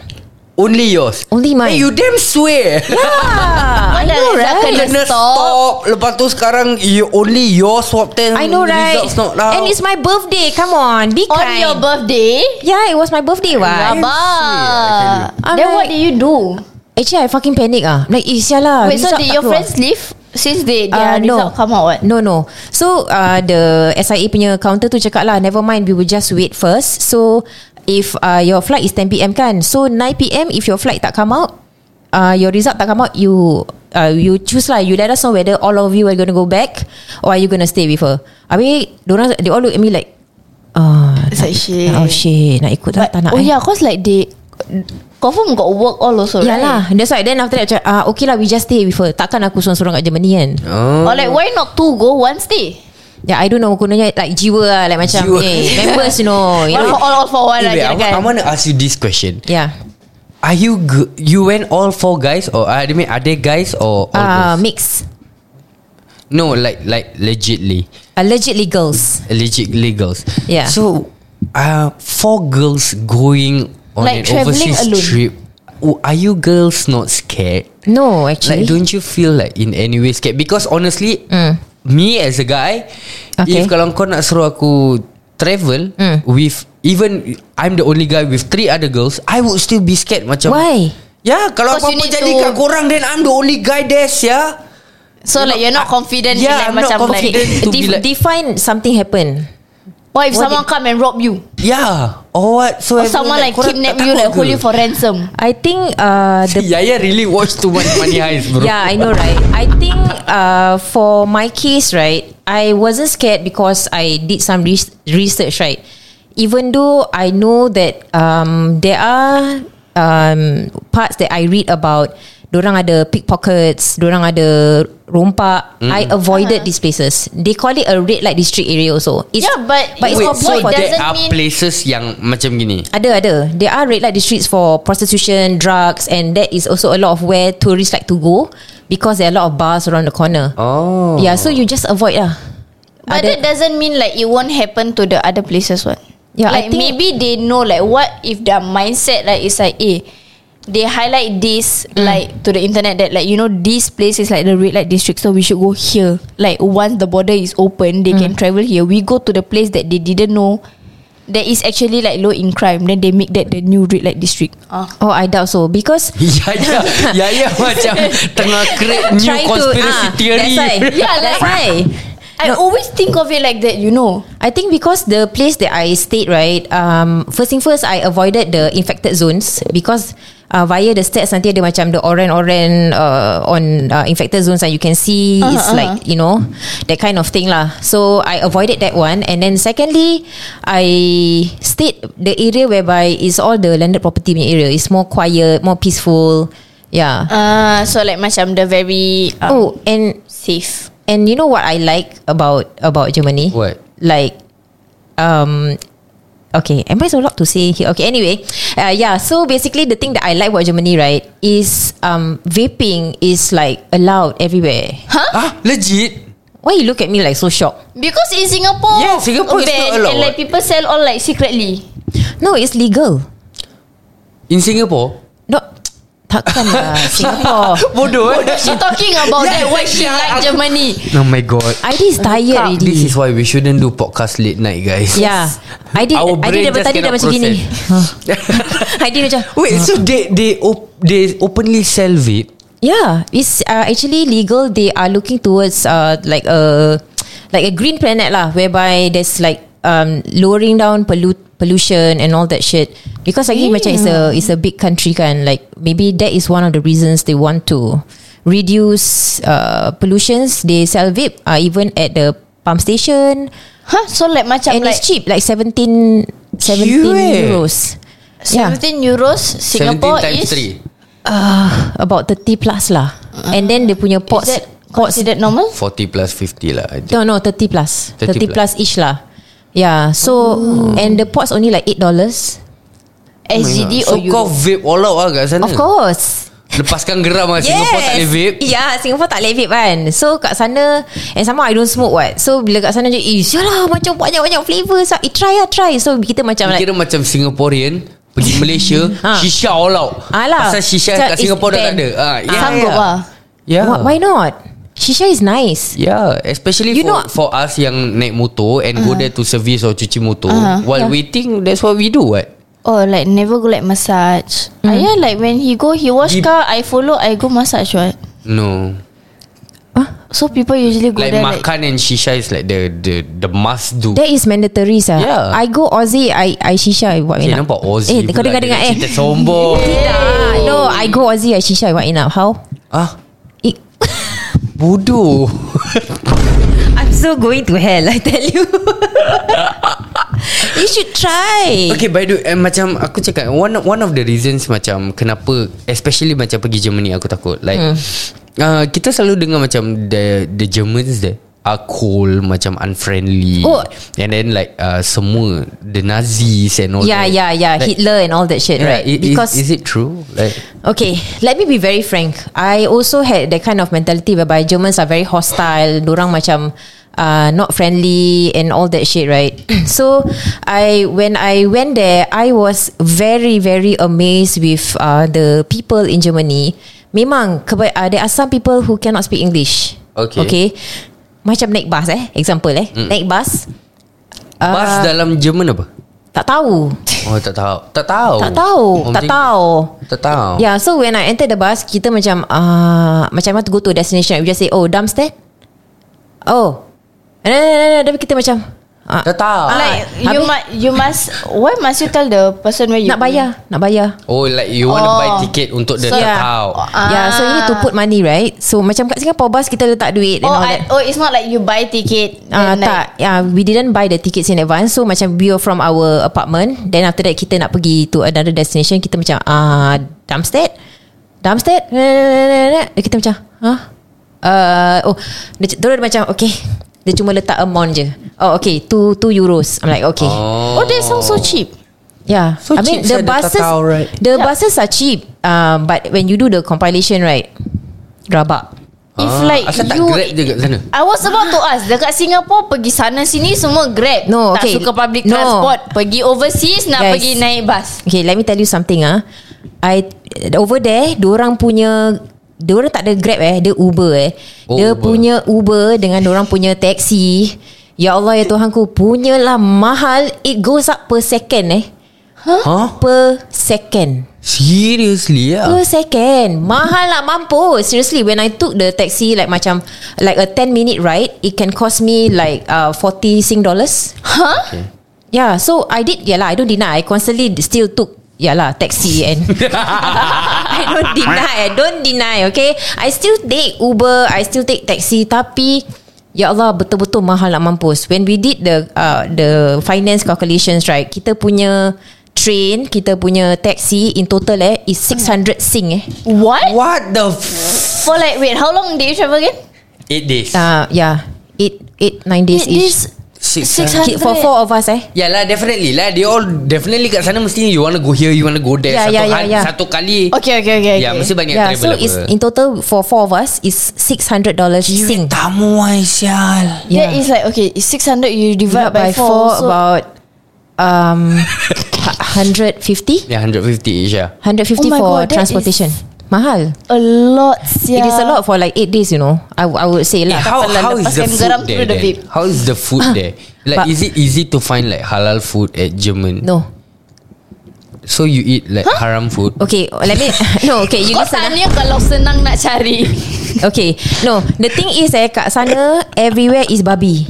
Speaker 3: Only yours
Speaker 2: Only mine.
Speaker 3: Eh you damn swear
Speaker 2: Yeah, Ah, I know
Speaker 4: Mana Razak
Speaker 2: right?
Speaker 4: kena
Speaker 3: Kena
Speaker 4: Stop.
Speaker 3: stop. Lepas tu sekarang you, Only your swab test
Speaker 2: I know right
Speaker 3: Mm, Results not out
Speaker 2: And it's my birthday Come on Be
Speaker 4: On
Speaker 2: kind
Speaker 4: your birthday?
Speaker 2: Yeah it was my birthday what
Speaker 4: Rabak.
Speaker 2: I'm
Speaker 4: Then what
Speaker 2: like-
Speaker 4: did you do?
Speaker 2: Actually I fucking panic ah Like eh sial lah
Speaker 4: Wait, so
Speaker 2: result
Speaker 4: did
Speaker 2: tak
Speaker 4: your
Speaker 2: keluar.
Speaker 4: friends leave since they
Speaker 2: Ah,
Speaker 4: their result come out? What?
Speaker 2: No no So uh, the SIA punya counter tu cakap lah Never mind we will just wait first So If uh, your flight is 10pm kan So 9pm if your flight tak come out uh, Your result tak come out You uh, You choose lah You let us know whether All of you are going to go back Or are you going to stay with her Habis dorang, They all look at me like Ah,
Speaker 4: It's like shit.
Speaker 2: Oh shit Nak ikut tak, tak nak
Speaker 4: Eh. oh
Speaker 2: eh.
Speaker 4: yeah, cause like they confirm got work all also, right?
Speaker 2: Yalah That's why Then after that macam ah, Okay lah we just stay with her Takkan aku sorang-sorang kat Germany kan
Speaker 3: oh.
Speaker 4: Or like why not two go one stay?
Speaker 2: Yeah I don't know Kononnya like jiwa lah Like macam
Speaker 3: Jiwa.
Speaker 2: eh, Members you know, you
Speaker 4: All
Speaker 2: know. Ya.
Speaker 4: for all, all for one
Speaker 3: Eh,
Speaker 4: lah
Speaker 3: wait, I,
Speaker 4: kira
Speaker 3: wa- I
Speaker 4: kan?
Speaker 3: want to ask you this question
Speaker 2: Yeah
Speaker 3: Are you g- You went all four guys Or uh, I mean Are they guys or all
Speaker 2: uh,
Speaker 3: girls
Speaker 2: Mix
Speaker 3: No like Like legitly
Speaker 2: Allegedly girls
Speaker 3: Legitly girls
Speaker 2: Yeah.
Speaker 3: So uh, Four girls going On an
Speaker 4: Like travelling
Speaker 3: overseas
Speaker 4: alone.
Speaker 3: trip w- Are you girls not scared
Speaker 2: No
Speaker 3: Like
Speaker 2: actually Mm.
Speaker 3: don't you feel like In any way scared Because honestly Me as a guy
Speaker 2: Okay.
Speaker 3: If kalau kau nak suruh aku Travel
Speaker 2: Mm.
Speaker 3: With Even I'm the only guy With three other girls I would still be scared Macam
Speaker 2: Why
Speaker 3: Ya kalau
Speaker 4: Because
Speaker 3: apa-apa
Speaker 4: you need
Speaker 3: jadi
Speaker 4: to-
Speaker 3: kat korang Then I'm the only guy there ya
Speaker 4: So like you're not confident in
Speaker 3: Yeah,
Speaker 4: like
Speaker 3: I'm not
Speaker 4: macam
Speaker 3: confident
Speaker 4: like
Speaker 3: to be
Speaker 2: Def-
Speaker 3: like
Speaker 2: Define something happen
Speaker 4: What if
Speaker 2: What
Speaker 4: someone come and rob you?
Speaker 3: Yeah Or Ya. Oh, what So
Speaker 4: Or someone like kidnap you Like hold you for ransom
Speaker 2: I think uh, the
Speaker 3: Yaya really watch too much Money Heist bro
Speaker 2: Yeah, I know, right? I think uh, for my case, right, I wasn't scared because I did some res- research, right? Even though I know that um, there are um, parts that I read about, dorang ada pickpockets, dorang ada rompak. I avoided these places. They call it a red light district area also. It's,
Speaker 4: Yeah, but
Speaker 2: but it's
Speaker 3: Wait,
Speaker 2: all
Speaker 4: avoid
Speaker 3: so
Speaker 2: for
Speaker 3: there
Speaker 4: doesn't
Speaker 3: are
Speaker 4: mean-
Speaker 3: places yang macam gini.
Speaker 2: ada ada. There are red light districts for prostitution, drugs, and that is also a lot of where tourists like to go because there are a lot of bars around the corner.
Speaker 3: Oh.
Speaker 2: Yeah, so you just avoid lah.
Speaker 4: But that doesn't mean like It won't happen to the other places what
Speaker 2: Yeah,
Speaker 4: Like
Speaker 2: I think-
Speaker 4: maybe they know Like what if their mindset Like it's like Eh they highlight this like to the internet that like you know this place is like the red light district so we should go here like once the border is open they can travel here we go to the place that they didn't know that is actually like low in crime then they make that the new red light district ah
Speaker 2: Oh, I doubt so because
Speaker 3: Yaya Yaya ya. macam Tengah create new
Speaker 2: trying
Speaker 3: conspiracy
Speaker 2: to, ah,
Speaker 3: theory
Speaker 2: That's why. Yeah,
Speaker 4: like-
Speaker 2: that's why.
Speaker 4: I always think of it like that you know
Speaker 2: I think because the place that I stayed, right? Um, first thing first, I avoided the infected zones because uh, via the stats nanti ada macam the orange-orange uh, on uh, infected zones and you can see it's like you know that kind of thing lah. So I avoided that one, and then secondly, I stayed the area whereby it's all the landed property punya area. It's more quiet, more peaceful. Yeah.
Speaker 4: Ah, so like macam the very um,
Speaker 2: oh, and
Speaker 4: safe.
Speaker 2: And you know what I like about about Germany?
Speaker 3: What?
Speaker 2: Like, um, okay. Am I so allowed to say here? Okay. Anyway, uh, yeah. So basically, the thing that I like about Germany, right, is um, vaping is like allowed everywhere.
Speaker 3: Ah legit
Speaker 2: Why you look at me like so shocked?
Speaker 4: Because in Singapore,
Speaker 3: Yeah, Singapore is
Speaker 4: banned
Speaker 3: not allowed.
Speaker 4: And like people sell all like secretly.
Speaker 2: No, it's legal.
Speaker 3: In Singapore
Speaker 2: Not takkan lah Singapore.
Speaker 3: Bodoh eh
Speaker 4: She talking about
Speaker 3: Yeah,
Speaker 4: that why she
Speaker 3: yeah,
Speaker 4: like
Speaker 3: aku-
Speaker 4: Germany.
Speaker 3: Oh my god
Speaker 2: ID is tired already.
Speaker 3: This is why we shouldn't do podcast late night guys
Speaker 2: yeah. ID
Speaker 3: Our brain
Speaker 2: ID
Speaker 3: just
Speaker 2: daripada tadi dah
Speaker 3: cannot
Speaker 2: macam gini. ID macam
Speaker 3: Wait so they they op- they openly sell vape
Speaker 2: Yeah, it's uh, actually legal. They are looking towards uh, like a like a green planet lah, whereby there's like um, lowering down pollute pollution and all that shit. Because lagi macam it's a it's a big country kan. Like maybe that is one of the reasons they want to reduce uh, pollutions. They sell vape uh, even at the pump station,
Speaker 4: Huh? So like macam
Speaker 2: and
Speaker 4: like
Speaker 2: it's cheap, like 17, 17
Speaker 3: Cute eh.
Speaker 2: euros. Yeah.
Speaker 4: 17 euros
Speaker 3: 17
Speaker 4: Singapore
Speaker 3: times
Speaker 4: is
Speaker 3: 3
Speaker 2: uh, about 30 plus lah. Uh, And then dia punya pots
Speaker 4: that considered Oh normal?
Speaker 3: 40 plus 50 lah I think.
Speaker 2: No, no, 30 plus.
Speaker 3: 30
Speaker 2: 30, 30 plus ish lah. Yeah, so oh. and the pots only like $8.
Speaker 4: SGD
Speaker 3: So
Speaker 4: or Euro?
Speaker 3: kau vape all out lah kat sana
Speaker 2: Of course.
Speaker 3: Lepaskan geram lah yes. Singapore tak boleh vape
Speaker 2: Ya yeah, Singapore tak boleh vape kan So kat sana And sama I don't smoke what So bila kat sana je Eh sialah macam banyak-banyak flavour so, eh, Try lah try So kita macam like
Speaker 3: Kira macam Singaporean Pergi Malaysia
Speaker 2: Ha.
Speaker 3: Shisha all out
Speaker 2: Alah
Speaker 3: Pasal shisha
Speaker 2: Macam
Speaker 3: kat
Speaker 2: it's
Speaker 3: Singapore dah tak
Speaker 2: banned.
Speaker 3: ada ha, yeah,
Speaker 4: Sanggup
Speaker 3: yeah.
Speaker 4: lah
Speaker 3: yeah.
Speaker 2: Wh- Why not Shisha is nice
Speaker 3: Yeah, especially you
Speaker 2: You
Speaker 3: for
Speaker 2: know-
Speaker 3: know, for us yang naik motor and uh-huh. go there to service or cuci motor.
Speaker 4: Uh-huh,
Speaker 3: Uh-huh, while yeah. waiting, that's what we do. What?
Speaker 4: Oh like never go like massage mm. Ayah like when he go He wash
Speaker 3: He-
Speaker 4: car I follow I go massage right
Speaker 3: No,
Speaker 4: So people usually go
Speaker 3: like
Speaker 4: there like
Speaker 3: makan and shisha is like the the the must do.
Speaker 2: That is mandatory sah.
Speaker 3: Yeah.
Speaker 2: I go Aussie I I shisha I buat
Speaker 3: Okay,
Speaker 2: enough.
Speaker 3: nampak Aussie
Speaker 2: Eh kau
Speaker 3: pula
Speaker 2: dengar dengar
Speaker 3: dia
Speaker 2: eh.
Speaker 3: Cerita sombong.
Speaker 2: Ah, no, I go Aussie I shisha I buat enough. How?
Speaker 3: ah,
Speaker 2: It,
Speaker 3: bodoh.
Speaker 2: I'm so going to hell I tell you. you should try.
Speaker 3: Okay by the way, eh, Macam aku cakap One one of the reasons Macam kenapa Especially macam pergi Germany Aku takut Like hmm. uh, Kita selalu dengar macam The the Germans there Are cold Macam unfriendly
Speaker 2: Oh.
Speaker 3: And then like uh, Semua The Nazis and all
Speaker 2: Yeah,
Speaker 3: that
Speaker 2: yeah, yeah.
Speaker 3: Like,
Speaker 2: Ya, Hitler and all that shit,
Speaker 3: yeah,
Speaker 2: right?
Speaker 3: i- is,
Speaker 2: because
Speaker 3: Is it true? Like
Speaker 2: Okay, let me be very frank. I also had that kind of mentality whereby Germans are very hostile. Dorang macam uh, not friendly and all that shit, right? so, I when I went there, I was very very amazed with uh, the people in Germany. Memang keba- uh, there are some people who cannot speak English.
Speaker 3: Okay.
Speaker 2: Okay. Macam naik bus eh, example eh, naik bus Ah.
Speaker 3: uh, Bus dalam Jerman apa?
Speaker 2: tak tahu.
Speaker 3: Oh tak tahu Tak tahu
Speaker 2: Tak tahu,
Speaker 3: Oh,
Speaker 2: tak
Speaker 3: thank-
Speaker 2: tahu. Ya.
Speaker 3: Tak tahu
Speaker 4: Oh.
Speaker 2: Yeah, so when I entered the bus, kita macam ah uh, macam mana to go to a destination. We just say, oh dumpster. Oh, and then, then, then, then kita macam ah,
Speaker 3: Tak tahu
Speaker 4: Like
Speaker 2: Ah,
Speaker 4: you
Speaker 2: habis-
Speaker 4: must you must why must you tell the person where you
Speaker 2: nak bayar, nak bayar.
Speaker 3: Oh like you want to
Speaker 4: Oh.
Speaker 3: buy ticket Untuk the
Speaker 2: So,
Speaker 3: tak
Speaker 2: yeah.
Speaker 3: tahu
Speaker 2: Ah. Yeah, so you need to put money right. So macam kat Singapore bus kita letak duit and
Speaker 4: Oh,
Speaker 2: all
Speaker 4: I,
Speaker 2: that.
Speaker 4: oh, it's not like you buy ticket.
Speaker 2: Ah uh,
Speaker 4: then like,
Speaker 2: tak, yeah, we didn't buy the tickets in advance. So macam we were from our apartment, then after that kita nak pergi to another destination, kita macam ah uh, Darmstadt. Darmstadt. Kita macam, huh? Uh, oh, dia, dia macam okay. Dia cuma letak amount je. Oh okay, 2 2 euros. I'm like okay.
Speaker 4: Oh, that sounds so cheap.
Speaker 2: Yeah.
Speaker 3: So
Speaker 2: I mean
Speaker 3: cheap
Speaker 2: the
Speaker 3: sia, the
Speaker 2: buses
Speaker 3: Tatao, right?
Speaker 2: the buses are cheap. Um but when you do the compilation right, rabak.
Speaker 4: If
Speaker 3: Ah,
Speaker 4: like
Speaker 3: Asal tak
Speaker 4: you
Speaker 3: grab je kat sana
Speaker 4: I was about to ask Dekat Singapore Pergi sana sini Semua grab
Speaker 2: No,
Speaker 4: Tak
Speaker 2: okay.
Speaker 4: suka public
Speaker 2: No.
Speaker 4: transport Pergi overseas Nak
Speaker 2: Guys.
Speaker 4: pergi naik bus
Speaker 2: Okay let me tell you something ah. I over there orang punya orang tak ada Grab eh, dia Uber eh.
Speaker 3: Oh,
Speaker 2: dia
Speaker 3: Uber.
Speaker 2: punya Uber dengan orang punya taksi. Ya Allah ya Tuhanku, punyalah mahal. It goes up per second eh.
Speaker 3: Huh?
Speaker 2: Per second.
Speaker 3: Seriously ya?
Speaker 2: Per second. Mahal lah mampus. Seriously when I took the taxi like macam like a 10 minute ride, it can cost me like uh, 40 Sing dollars.
Speaker 4: Huh?
Speaker 2: Yeah, so I did. Yeah lah, I don't deny. I constantly still took yeah lah taxi and I don't deny. I don't deny. Okay, I still take Uber. I still take taxi. Tapi ya Allah betul-betul mahal nak mampus. When we did the uh, the finance calculations right, kita punya train, kita punya taxi in total eh is 600 sing eh.
Speaker 4: What?
Speaker 3: What the f-
Speaker 4: For like Wait how long did you travel again?
Speaker 3: 8 days
Speaker 4: Ah.
Speaker 2: Uh, yeah, eight eight nine days
Speaker 4: It
Speaker 2: each.
Speaker 4: is
Speaker 3: Six,
Speaker 4: six
Speaker 3: huh?
Speaker 4: hun-
Speaker 2: Ki- For four of us eh.
Speaker 3: Ya lah definitely lah They all definitely kat sana Mesti you want to go here You want to go there
Speaker 2: Yeah,
Speaker 3: satu,
Speaker 2: yeah, yeah,
Speaker 3: hari-
Speaker 2: yeah.
Speaker 3: satu kali
Speaker 4: Okay okay okay,
Speaker 3: Ya
Speaker 4: okay.
Speaker 3: mesti banyak
Speaker 2: Yeah, so
Speaker 3: travel
Speaker 2: it's in total for four of us is six hundred dollars sing.
Speaker 3: Tamu Aisyal
Speaker 4: That is like Okay it's 600 You divide
Speaker 2: divide by,
Speaker 4: by,
Speaker 2: four,
Speaker 4: 4 so
Speaker 2: about um 150 150
Speaker 3: Ya 150 ish lah
Speaker 4: Oh my
Speaker 2: for
Speaker 4: God, that
Speaker 2: transportation. Mahal.
Speaker 4: A lot yeah.
Speaker 2: It is a lot for like 8 days, you know. I, I would say lah.
Speaker 3: Eh, How,
Speaker 4: pernah
Speaker 3: how is the
Speaker 4: lepaskan
Speaker 3: food
Speaker 4: garam
Speaker 3: there
Speaker 4: kan through the Ah.
Speaker 3: then?
Speaker 4: vape.
Speaker 3: How is the food there Like
Speaker 2: But-
Speaker 3: is it easy to find Like halal food at German
Speaker 2: No.
Speaker 3: So you eat like haram food
Speaker 2: Okay, let me No, okay, you
Speaker 4: Kau
Speaker 2: listen. ah.
Speaker 4: tanya kalau senang nak cari Ah,
Speaker 2: Okay. No, the thing is eh kat sana everywhere is babi.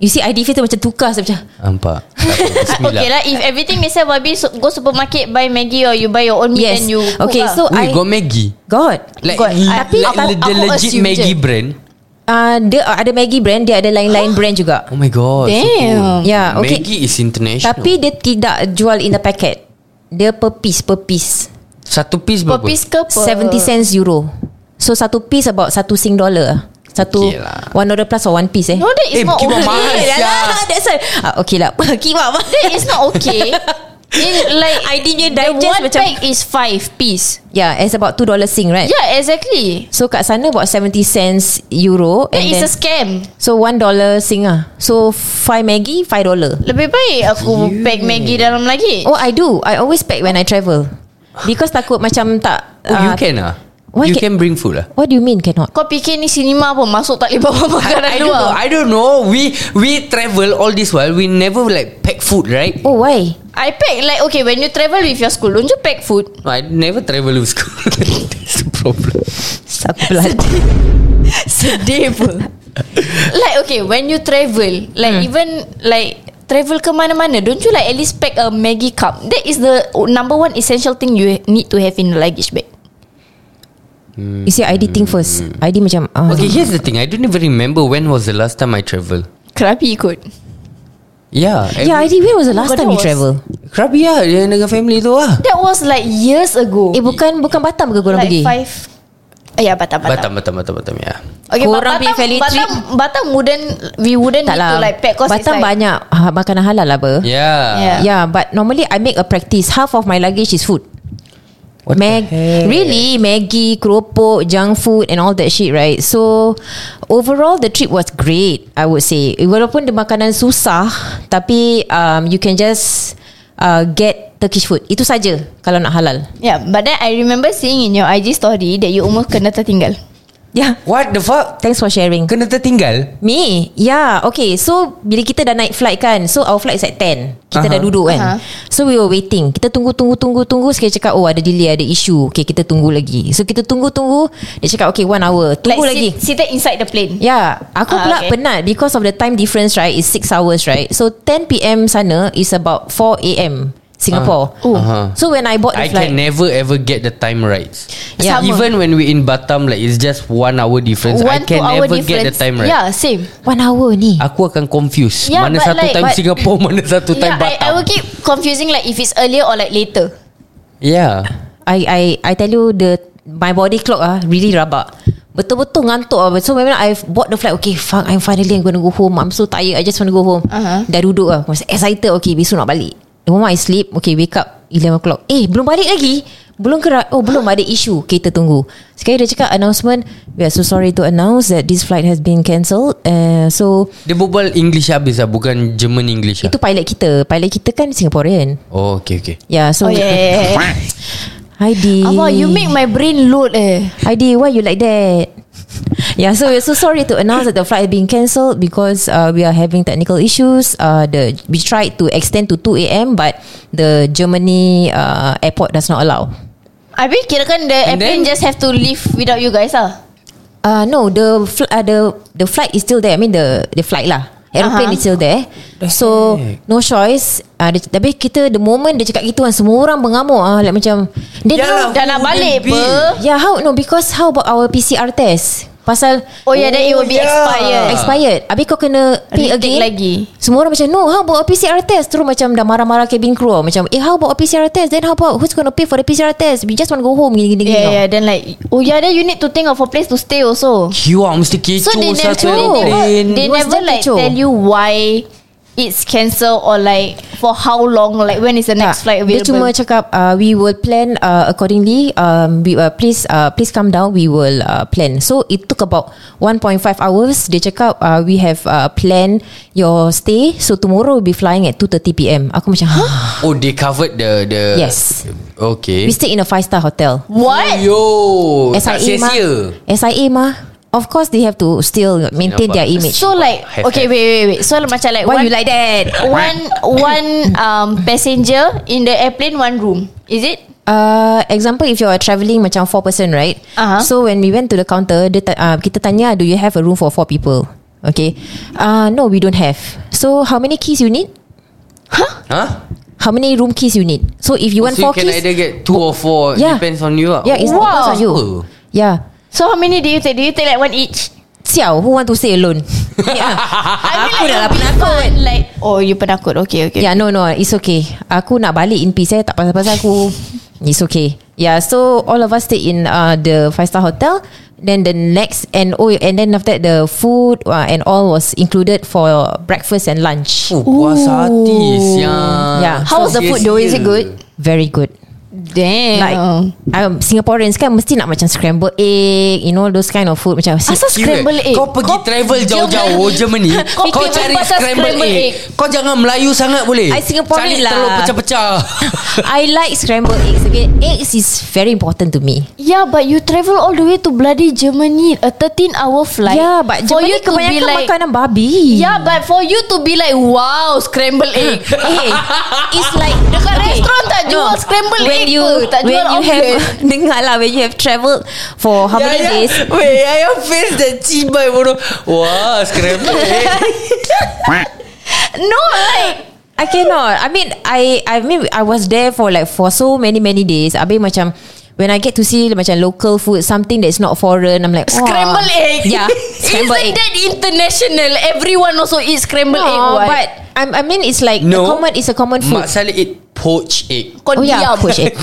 Speaker 2: You see IDV tu macam tukar saya macam
Speaker 3: Nampak Tak apa, Bismillah
Speaker 4: Okay lah If everything they sell babi so, Go supermarket Buy Maggi Or you buy your own meat
Speaker 2: Yes.
Speaker 4: And you cook
Speaker 2: Okay,
Speaker 4: lah.
Speaker 2: so
Speaker 3: Wait
Speaker 2: I
Speaker 3: got Maggie
Speaker 2: God.
Speaker 3: Like,
Speaker 4: Got.
Speaker 3: le-
Speaker 4: Tapi
Speaker 3: like
Speaker 4: aku-
Speaker 3: the
Speaker 4: aku
Speaker 3: legit
Speaker 4: assume
Speaker 3: Maggie
Speaker 4: je.
Speaker 3: brand
Speaker 2: uh, dia ada Maggi brand, dia ada lain-lain brand juga.
Speaker 3: Oh my god so
Speaker 4: Damn.
Speaker 3: cool.
Speaker 2: Yeah, okay.
Speaker 3: Maggie is international
Speaker 2: Tapi dia tidak jual in the packet. Dia per piece, per piece.
Speaker 3: Satu piece
Speaker 4: Per
Speaker 3: berapa?
Speaker 4: piece ke per
Speaker 2: 70 cents euro So satu piece about Satu sing dollar Satu
Speaker 3: Okay lah.
Speaker 2: One dollar plus or one piece eh
Speaker 4: No that
Speaker 3: Eh,
Speaker 4: is not
Speaker 3: kibab
Speaker 4: okay
Speaker 3: mahal
Speaker 2: Eh,
Speaker 3: sia.
Speaker 2: lah, That's why ah, Okay lah Kibab
Speaker 4: That is not okay In, Like
Speaker 2: I didn't you
Speaker 4: The
Speaker 2: digest
Speaker 4: one
Speaker 2: macam
Speaker 4: pack is five piece
Speaker 2: Yeah it's about 2 dollar sing right
Speaker 4: Yeah exactly
Speaker 2: So kat sana about 70 cents euro
Speaker 4: That
Speaker 2: and
Speaker 4: is
Speaker 2: then,
Speaker 4: a scam
Speaker 2: So 1 dollar sing ah. So 5 Maggi 5 dollar
Speaker 4: Lebih baik aku pack Maggi dalam lagi
Speaker 2: Oh I do I always pack when I travel Because takut macam tak
Speaker 3: Oh, you
Speaker 2: ah,
Speaker 3: can ah.
Speaker 2: why
Speaker 3: You can
Speaker 2: can-
Speaker 3: bring food lah.
Speaker 2: What do you mean cannot
Speaker 4: Kau fikir ni cinema pun Masuk tak boleh bawa
Speaker 3: I, I
Speaker 4: makanan
Speaker 3: don't
Speaker 4: luar
Speaker 3: know. I don't know. We we travel all this while. We never like pack food, right?
Speaker 2: Oh why
Speaker 4: I pack like Okay when you travel with your school Don't you pack food
Speaker 3: No, I never travel with school. That's the problem.
Speaker 2: Aku belajar
Speaker 4: Sedih pun Like okay When you travel Like hmm. even Like Travel ke mana-mana Don't you like At least pack a Maggi cup That is the Number one essential thing You ha-, need to have In the luggage bag
Speaker 2: You see ID think first ID macam ah,
Speaker 3: Okay, here's the thing. I don't even remember when was the last time I travel.
Speaker 4: Krabi ikut
Speaker 3: Yeah.
Speaker 2: Yeah
Speaker 3: every-
Speaker 2: ID When Ya, was the
Speaker 4: Oh,
Speaker 2: last
Speaker 4: that
Speaker 2: time you
Speaker 4: was-
Speaker 2: travel Eh,
Speaker 3: Krabi lah Dia dengan family tu lah
Speaker 4: That was like years ago
Speaker 2: Eh bukan Bukan Batam ke korang
Speaker 4: Like
Speaker 2: pergi
Speaker 4: five Eh, Ya Batam
Speaker 3: Batam
Speaker 4: Batam,
Speaker 3: Batam Batam Batam ya.
Speaker 4: Okay, but
Speaker 2: Korang pergi
Speaker 4: Batam,
Speaker 2: family
Speaker 4: Batam,
Speaker 2: trip?
Speaker 4: Batam wouldn't We wouldn't need
Speaker 2: Tak lah
Speaker 4: to like pack Cause
Speaker 2: Batam
Speaker 4: it's like
Speaker 2: banyak ah, Makanan halal lah ber
Speaker 3: Yeah.
Speaker 4: Yeah.
Speaker 2: Yeah, but normally I make a practice. Half of my luggage is food.
Speaker 3: What
Speaker 2: Mag-
Speaker 3: the heck?
Speaker 2: really Maggie, keropok, junk food and all that shit, right? So overall the trip was great, I would say. Walaupun the makanan susah, tapi um, you can just uh, get Turkish food. Itu saja kalau nak halal.
Speaker 4: Yeah but then I remember seeing In your IG story That you almost kena tertinggal
Speaker 2: Yeah.
Speaker 3: What the fuck?
Speaker 2: Thanks for sharing.
Speaker 3: Kena tertinggal?
Speaker 2: Me? Yeah, okay. So, bila kita dah naik flight kan. So, our flight is at 10. Kita
Speaker 3: Aha.
Speaker 2: uh-huh. dah duduk kan.
Speaker 4: Aha.
Speaker 2: Uh-huh. So, we were waiting. Kita tunggu, tunggu, tunggu, tunggu. Sekali dia cakap, oh ada delay, ada issue. Okay, kita tunggu lagi. So, kita tunggu, tunggu. Dia cakap, okay, one hour. Tunggu
Speaker 4: like,
Speaker 2: lagi.
Speaker 4: sit, Seated inside the plane
Speaker 2: Ya, aku
Speaker 4: Ah,
Speaker 2: pula
Speaker 4: okay.
Speaker 2: okay. penat because of the time difference right is 6 hours right. So 10 PM sana is about 4 AM Singapore.
Speaker 3: Ah,
Speaker 2: Uh,
Speaker 3: aha.
Speaker 2: So when I bought the
Speaker 3: I
Speaker 2: flight,
Speaker 3: can never ever get the time right.
Speaker 2: Yeah.
Speaker 4: Sama.
Speaker 3: Even when we in Batam like it's just one hour difference. I can
Speaker 4: two-hour
Speaker 3: never get the
Speaker 4: difference.
Speaker 3: time right.
Speaker 4: Yeah same
Speaker 2: one hour ni.
Speaker 3: Aku akan confuse
Speaker 4: Yeah,
Speaker 3: Mana
Speaker 4: but
Speaker 3: satu
Speaker 4: like-
Speaker 3: time
Speaker 4: but-
Speaker 3: Singapore Mana satu time
Speaker 4: yeah, I,
Speaker 3: Batam
Speaker 4: I will keep confusing like if it's earlier or like later.
Speaker 3: Yeah
Speaker 2: I I I tell you the my body clock ah really rabak. Betul-betul ngantuk ah. So when I bought the flight Okay fuck I'm finally I'm gonna go home I'm so tired I just want to go home
Speaker 4: Uh-huh.
Speaker 2: Dah duduk lah Masa excited Okay besok nak balik The moment I sleep Okay wake up 11 o'clock Eh belum balik lagi Belum kera Oh belum ada issue Kita tunggu Sekali dia cakap announcement We are so sorry to announce That this flight has been cancelled uh, So
Speaker 3: Dia berbual English habis lah Bukan German English lah
Speaker 2: Itu pilot kita Pilot kita kan Singaporean
Speaker 3: Oh okay okay
Speaker 2: Yeah so
Speaker 4: Oh yeah.
Speaker 2: Heidi
Speaker 4: Allah, you make my brain load eh.
Speaker 2: Heidi, why you like that? yeah, so we're so sorry to announce that the flight is being cancelled because uh, we are having technical issues. Uh, the we tried to extend to 2 a.m. but the Germany uh, airport does not allow.
Speaker 4: Abi kira kan the
Speaker 3: And
Speaker 4: airplane
Speaker 3: then-
Speaker 4: just have to leave without you guys ah.
Speaker 2: Uh, no, the fl- uh, the the flight is still there. I mean the the flight lah.
Speaker 4: Aha.
Speaker 2: Aeroplane uh-huh. is still there. So no choice. Uh, dia, tapi kita the moment dia cakap gitu kan semua orang mengamuk ah like macam dia
Speaker 3: Yalah,
Speaker 2: yeah,
Speaker 4: Dah nak
Speaker 3: Who
Speaker 4: balik
Speaker 3: will be?
Speaker 4: apa?
Speaker 2: yeah how no because how about our PCR test? Pasal
Speaker 4: Oh yeah, then it will be
Speaker 3: yeah.
Speaker 4: expired.
Speaker 2: expired Habis kau kena pay
Speaker 4: Retake
Speaker 2: again
Speaker 4: lagi.
Speaker 2: Semua orang macam No how about a PCR test Terus macam dah marah-marah cabin crew Macam eh how about a PCR test Then how about Who's gonna pay for the PCR test We just want to go home Gini-gini
Speaker 4: Yeah, yeah. Then like, oh yeah, then you need to think of a place to stay also.
Speaker 3: Queue lah Mesti kecoh
Speaker 4: So they never,
Speaker 3: satu
Speaker 4: they never,
Speaker 3: aeroplane.
Speaker 4: they
Speaker 2: It was
Speaker 4: never
Speaker 2: that
Speaker 4: like
Speaker 2: kecoh.
Speaker 4: tell you why it's cancelled or like for how long, like when is the next flight
Speaker 2: Dia
Speaker 4: available.
Speaker 2: cuma cakap uh, We will plan uh, accordingly um, we, uh, Please uh, please come down We will uh, plan So it took about 1.5 hours Dia cakap uh, We have uh, planned Your stay So tomorrow we'll be flying At 2.30pm Aku macam huh?
Speaker 3: Oh they covered the the
Speaker 2: Yes.
Speaker 3: Okay
Speaker 2: We stay in a 5 star hotel
Speaker 4: what?
Speaker 3: Yo Tak
Speaker 2: SIA E mah
Speaker 3: sia-sia
Speaker 2: SIA mah Of course they have to Still maintain their image
Speaker 4: So like
Speaker 3: Have, have.
Speaker 4: Okay wait wait wait So macam like
Speaker 2: Why
Speaker 4: one,
Speaker 2: you like that?
Speaker 4: One One um, passenger In the airplane One room Is it?
Speaker 2: Uh, example if you are travelling macam four person right
Speaker 4: Aha.
Speaker 2: So when we went to the counter dia ta- uh, Kita tanya do you have a room for four people Okay uh, No we don't have So how many keys you need?
Speaker 3: Huh?
Speaker 2: How many room keys you need? So if you want
Speaker 3: Ha? So you
Speaker 2: four
Speaker 3: can
Speaker 2: keys
Speaker 3: either get Two or four
Speaker 2: Yeah.
Speaker 3: Depends on you lah
Speaker 2: Yeah it's
Speaker 4: Wow.
Speaker 2: depends on you
Speaker 3: Oh.
Speaker 2: Yeah
Speaker 4: So how many do you take? Do you take like one each?
Speaker 2: Siao who want to stay alone? yeah. Ah, Aku dah lah penakut
Speaker 4: fun, Like Oh you penakut Okay okay
Speaker 2: Ya, Yeah no no It's okay Aku nak balik in peace eh Tak pasal-pasal aku It's okay. Yeah, so all of us stayed in uh, the five star hotel. Then the next and oh, and then after that the food uh, and all was included for breakfast and lunch.
Speaker 3: Oh, puas hati siang.
Speaker 2: Yeah.
Speaker 4: How was the food though? Is it good?
Speaker 2: Very good.
Speaker 4: Damn.
Speaker 2: Like um, Singaporeans kan mesti nak macam scramble egg, you know those kind of food macam
Speaker 4: Asal scramble egg?
Speaker 3: Kau pergi
Speaker 4: Kau-
Speaker 3: travel
Speaker 4: Dia
Speaker 3: jauh-jauh oh,
Speaker 4: beli-
Speaker 3: Germany
Speaker 4: Kau
Speaker 3: Kau
Speaker 4: fikir
Speaker 3: cari
Speaker 4: pasal
Speaker 3: scramble
Speaker 4: scramble
Speaker 3: egg
Speaker 4: egg.
Speaker 3: Kau jangan Melayu sangat boleh
Speaker 2: I Singaporean
Speaker 3: Cari
Speaker 2: lah.
Speaker 3: telur pecah-pecah
Speaker 2: I like scrambled eggs. Okay, eggs is very important to me.
Speaker 4: Yeah, but you travel all the way to bloody Germany, a 13 hour flight.
Speaker 2: yeah, but
Speaker 4: for
Speaker 2: Germany
Speaker 4: you to be
Speaker 2: kebanyakan
Speaker 4: like
Speaker 2: makanan babi.
Speaker 4: Yeah, but for you to be like wow, scramble egg.
Speaker 2: Hey, Eh, it's like
Speaker 4: Dekat restoran tak jual scramble
Speaker 2: when
Speaker 4: egg
Speaker 2: you,
Speaker 4: ke? Tak
Speaker 2: when
Speaker 4: jual
Speaker 2: you have
Speaker 4: omelette.
Speaker 2: dengar lah when you have travelled for how many days
Speaker 3: Wait Ya, I face the cibai bodoh Wah scramble egg
Speaker 4: No, like
Speaker 2: I cannot. I mean, I I mean I was there for like for so many many days. Abi macam when I get to see macam local food, something that's not foreign, I'm like wah.
Speaker 4: scramble egg.
Speaker 2: Yeah, scramble
Speaker 4: Isn't
Speaker 2: egg.
Speaker 4: that international? Everyone also eat scramble egg.
Speaker 2: No,
Speaker 4: What?
Speaker 2: but I'm, I mean it's like
Speaker 3: No
Speaker 2: a common it's a common food.
Speaker 3: Mak Saleh eat poached egg
Speaker 4: kau
Speaker 2: oh yeah,
Speaker 4: diam.
Speaker 2: poached egg.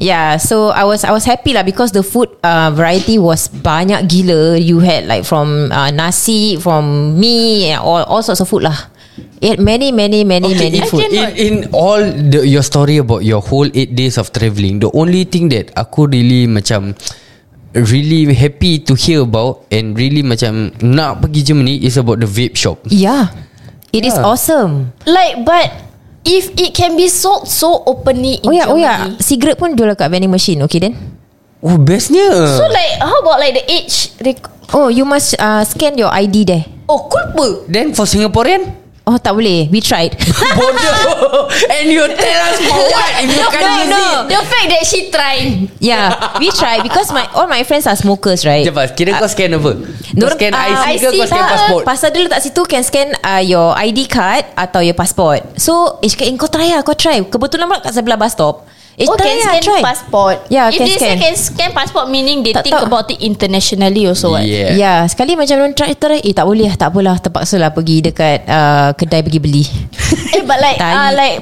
Speaker 2: Yeah, so I was I was happy lah because the food uh, variety was banyak gila. You had like from uh, nasi, from mee, and all all sorts of food lah. It had many many many many
Speaker 3: in,
Speaker 2: food.
Speaker 3: in, in all the, your story about your whole 8 days of travelling the only thing that aku really macam really happy to hear about and really macam nak pergi Germany is about the vape shop
Speaker 2: Yeah, it is awesome.
Speaker 4: Like, but if it can be sold so openly in
Speaker 2: Oh yeah, oh
Speaker 4: Germany.
Speaker 2: yeah. Cigarette pun jual kat vending machine. Okay then.
Speaker 3: oh bestnya
Speaker 4: So like, how about like the age? rec-
Speaker 2: Oh, you must uh, scan your ID there.
Speaker 4: Oh, kulpa.
Speaker 3: then for Singaporean
Speaker 2: Oh, tak boleh. We tried.
Speaker 3: bodoh and you tell us for what if you can't use it
Speaker 4: The fact that she trying.
Speaker 2: yeah, we tried because my all my friends are smokers, right?
Speaker 3: Cepat kira kau scan apa kau
Speaker 2: Dorang-
Speaker 3: scan
Speaker 2: ah,
Speaker 3: IC uh, ke
Speaker 4: IC
Speaker 3: kau scan
Speaker 4: tak.
Speaker 3: passport
Speaker 2: Pasal dia letak situ Can scan uh, your ID card Atau your passport So Eh cakap eh, Kau try lah Kau try Kebetulan pula kat sebelah bus stop Eh
Speaker 4: Oh,
Speaker 2: try
Speaker 4: can
Speaker 2: lah
Speaker 4: scan
Speaker 2: try
Speaker 4: passport.
Speaker 2: Yeah,
Speaker 4: If
Speaker 2: can
Speaker 4: they
Speaker 2: scan.
Speaker 4: say can scan passport, meaning they
Speaker 2: Tak
Speaker 4: think
Speaker 2: tahu.
Speaker 4: about it internationally also. What?
Speaker 3: yeah.
Speaker 2: Ya yeah, Sekali macam orang try try Eh tak boleh lah Tak apalah Terpaksa lah pergi dekat uh, Kedai pergi beli
Speaker 4: Eh, but like, uh,
Speaker 2: Tai.
Speaker 4: like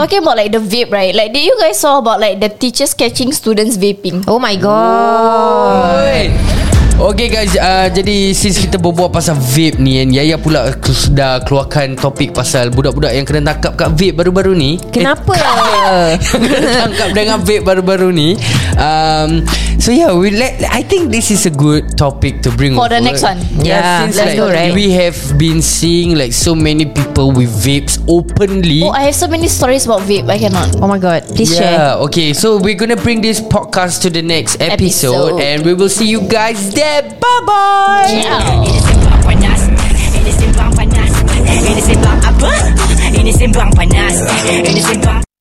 Speaker 4: talking about like the vape, right? Like, did you guys saw about like the teachers catching students vaping?
Speaker 2: Oh my god
Speaker 3: Alright. Okay guys uh, Jadi since kita berbual pasal vape ni And Yaya pula ke- Sudah keluarkan topik pasal Budak-budak yang kena tangkap kat vape baru-baru ni
Speaker 2: Kenapa
Speaker 3: Kena tangkap dengan vape baru-baru ni um, So yeah we let, I think this is a good topic to bring
Speaker 4: For the
Speaker 3: over.
Speaker 4: next one.
Speaker 2: Yeah,
Speaker 3: since
Speaker 2: let's
Speaker 3: like,
Speaker 2: go, right?
Speaker 3: We have been seeing Like so many people With vapes openly
Speaker 4: Oh, I have so many stories about vape. I cannot.
Speaker 2: Oh my god Please share
Speaker 3: yeah, okay. So we're gonna bring this podcast to the next episode,
Speaker 4: Episode.
Speaker 3: and we will see you guys there. Bye bye.
Speaker 5: Ini sembang panas Ini sembang panas Ini sembang apa? Ini sembang panas Ini sembang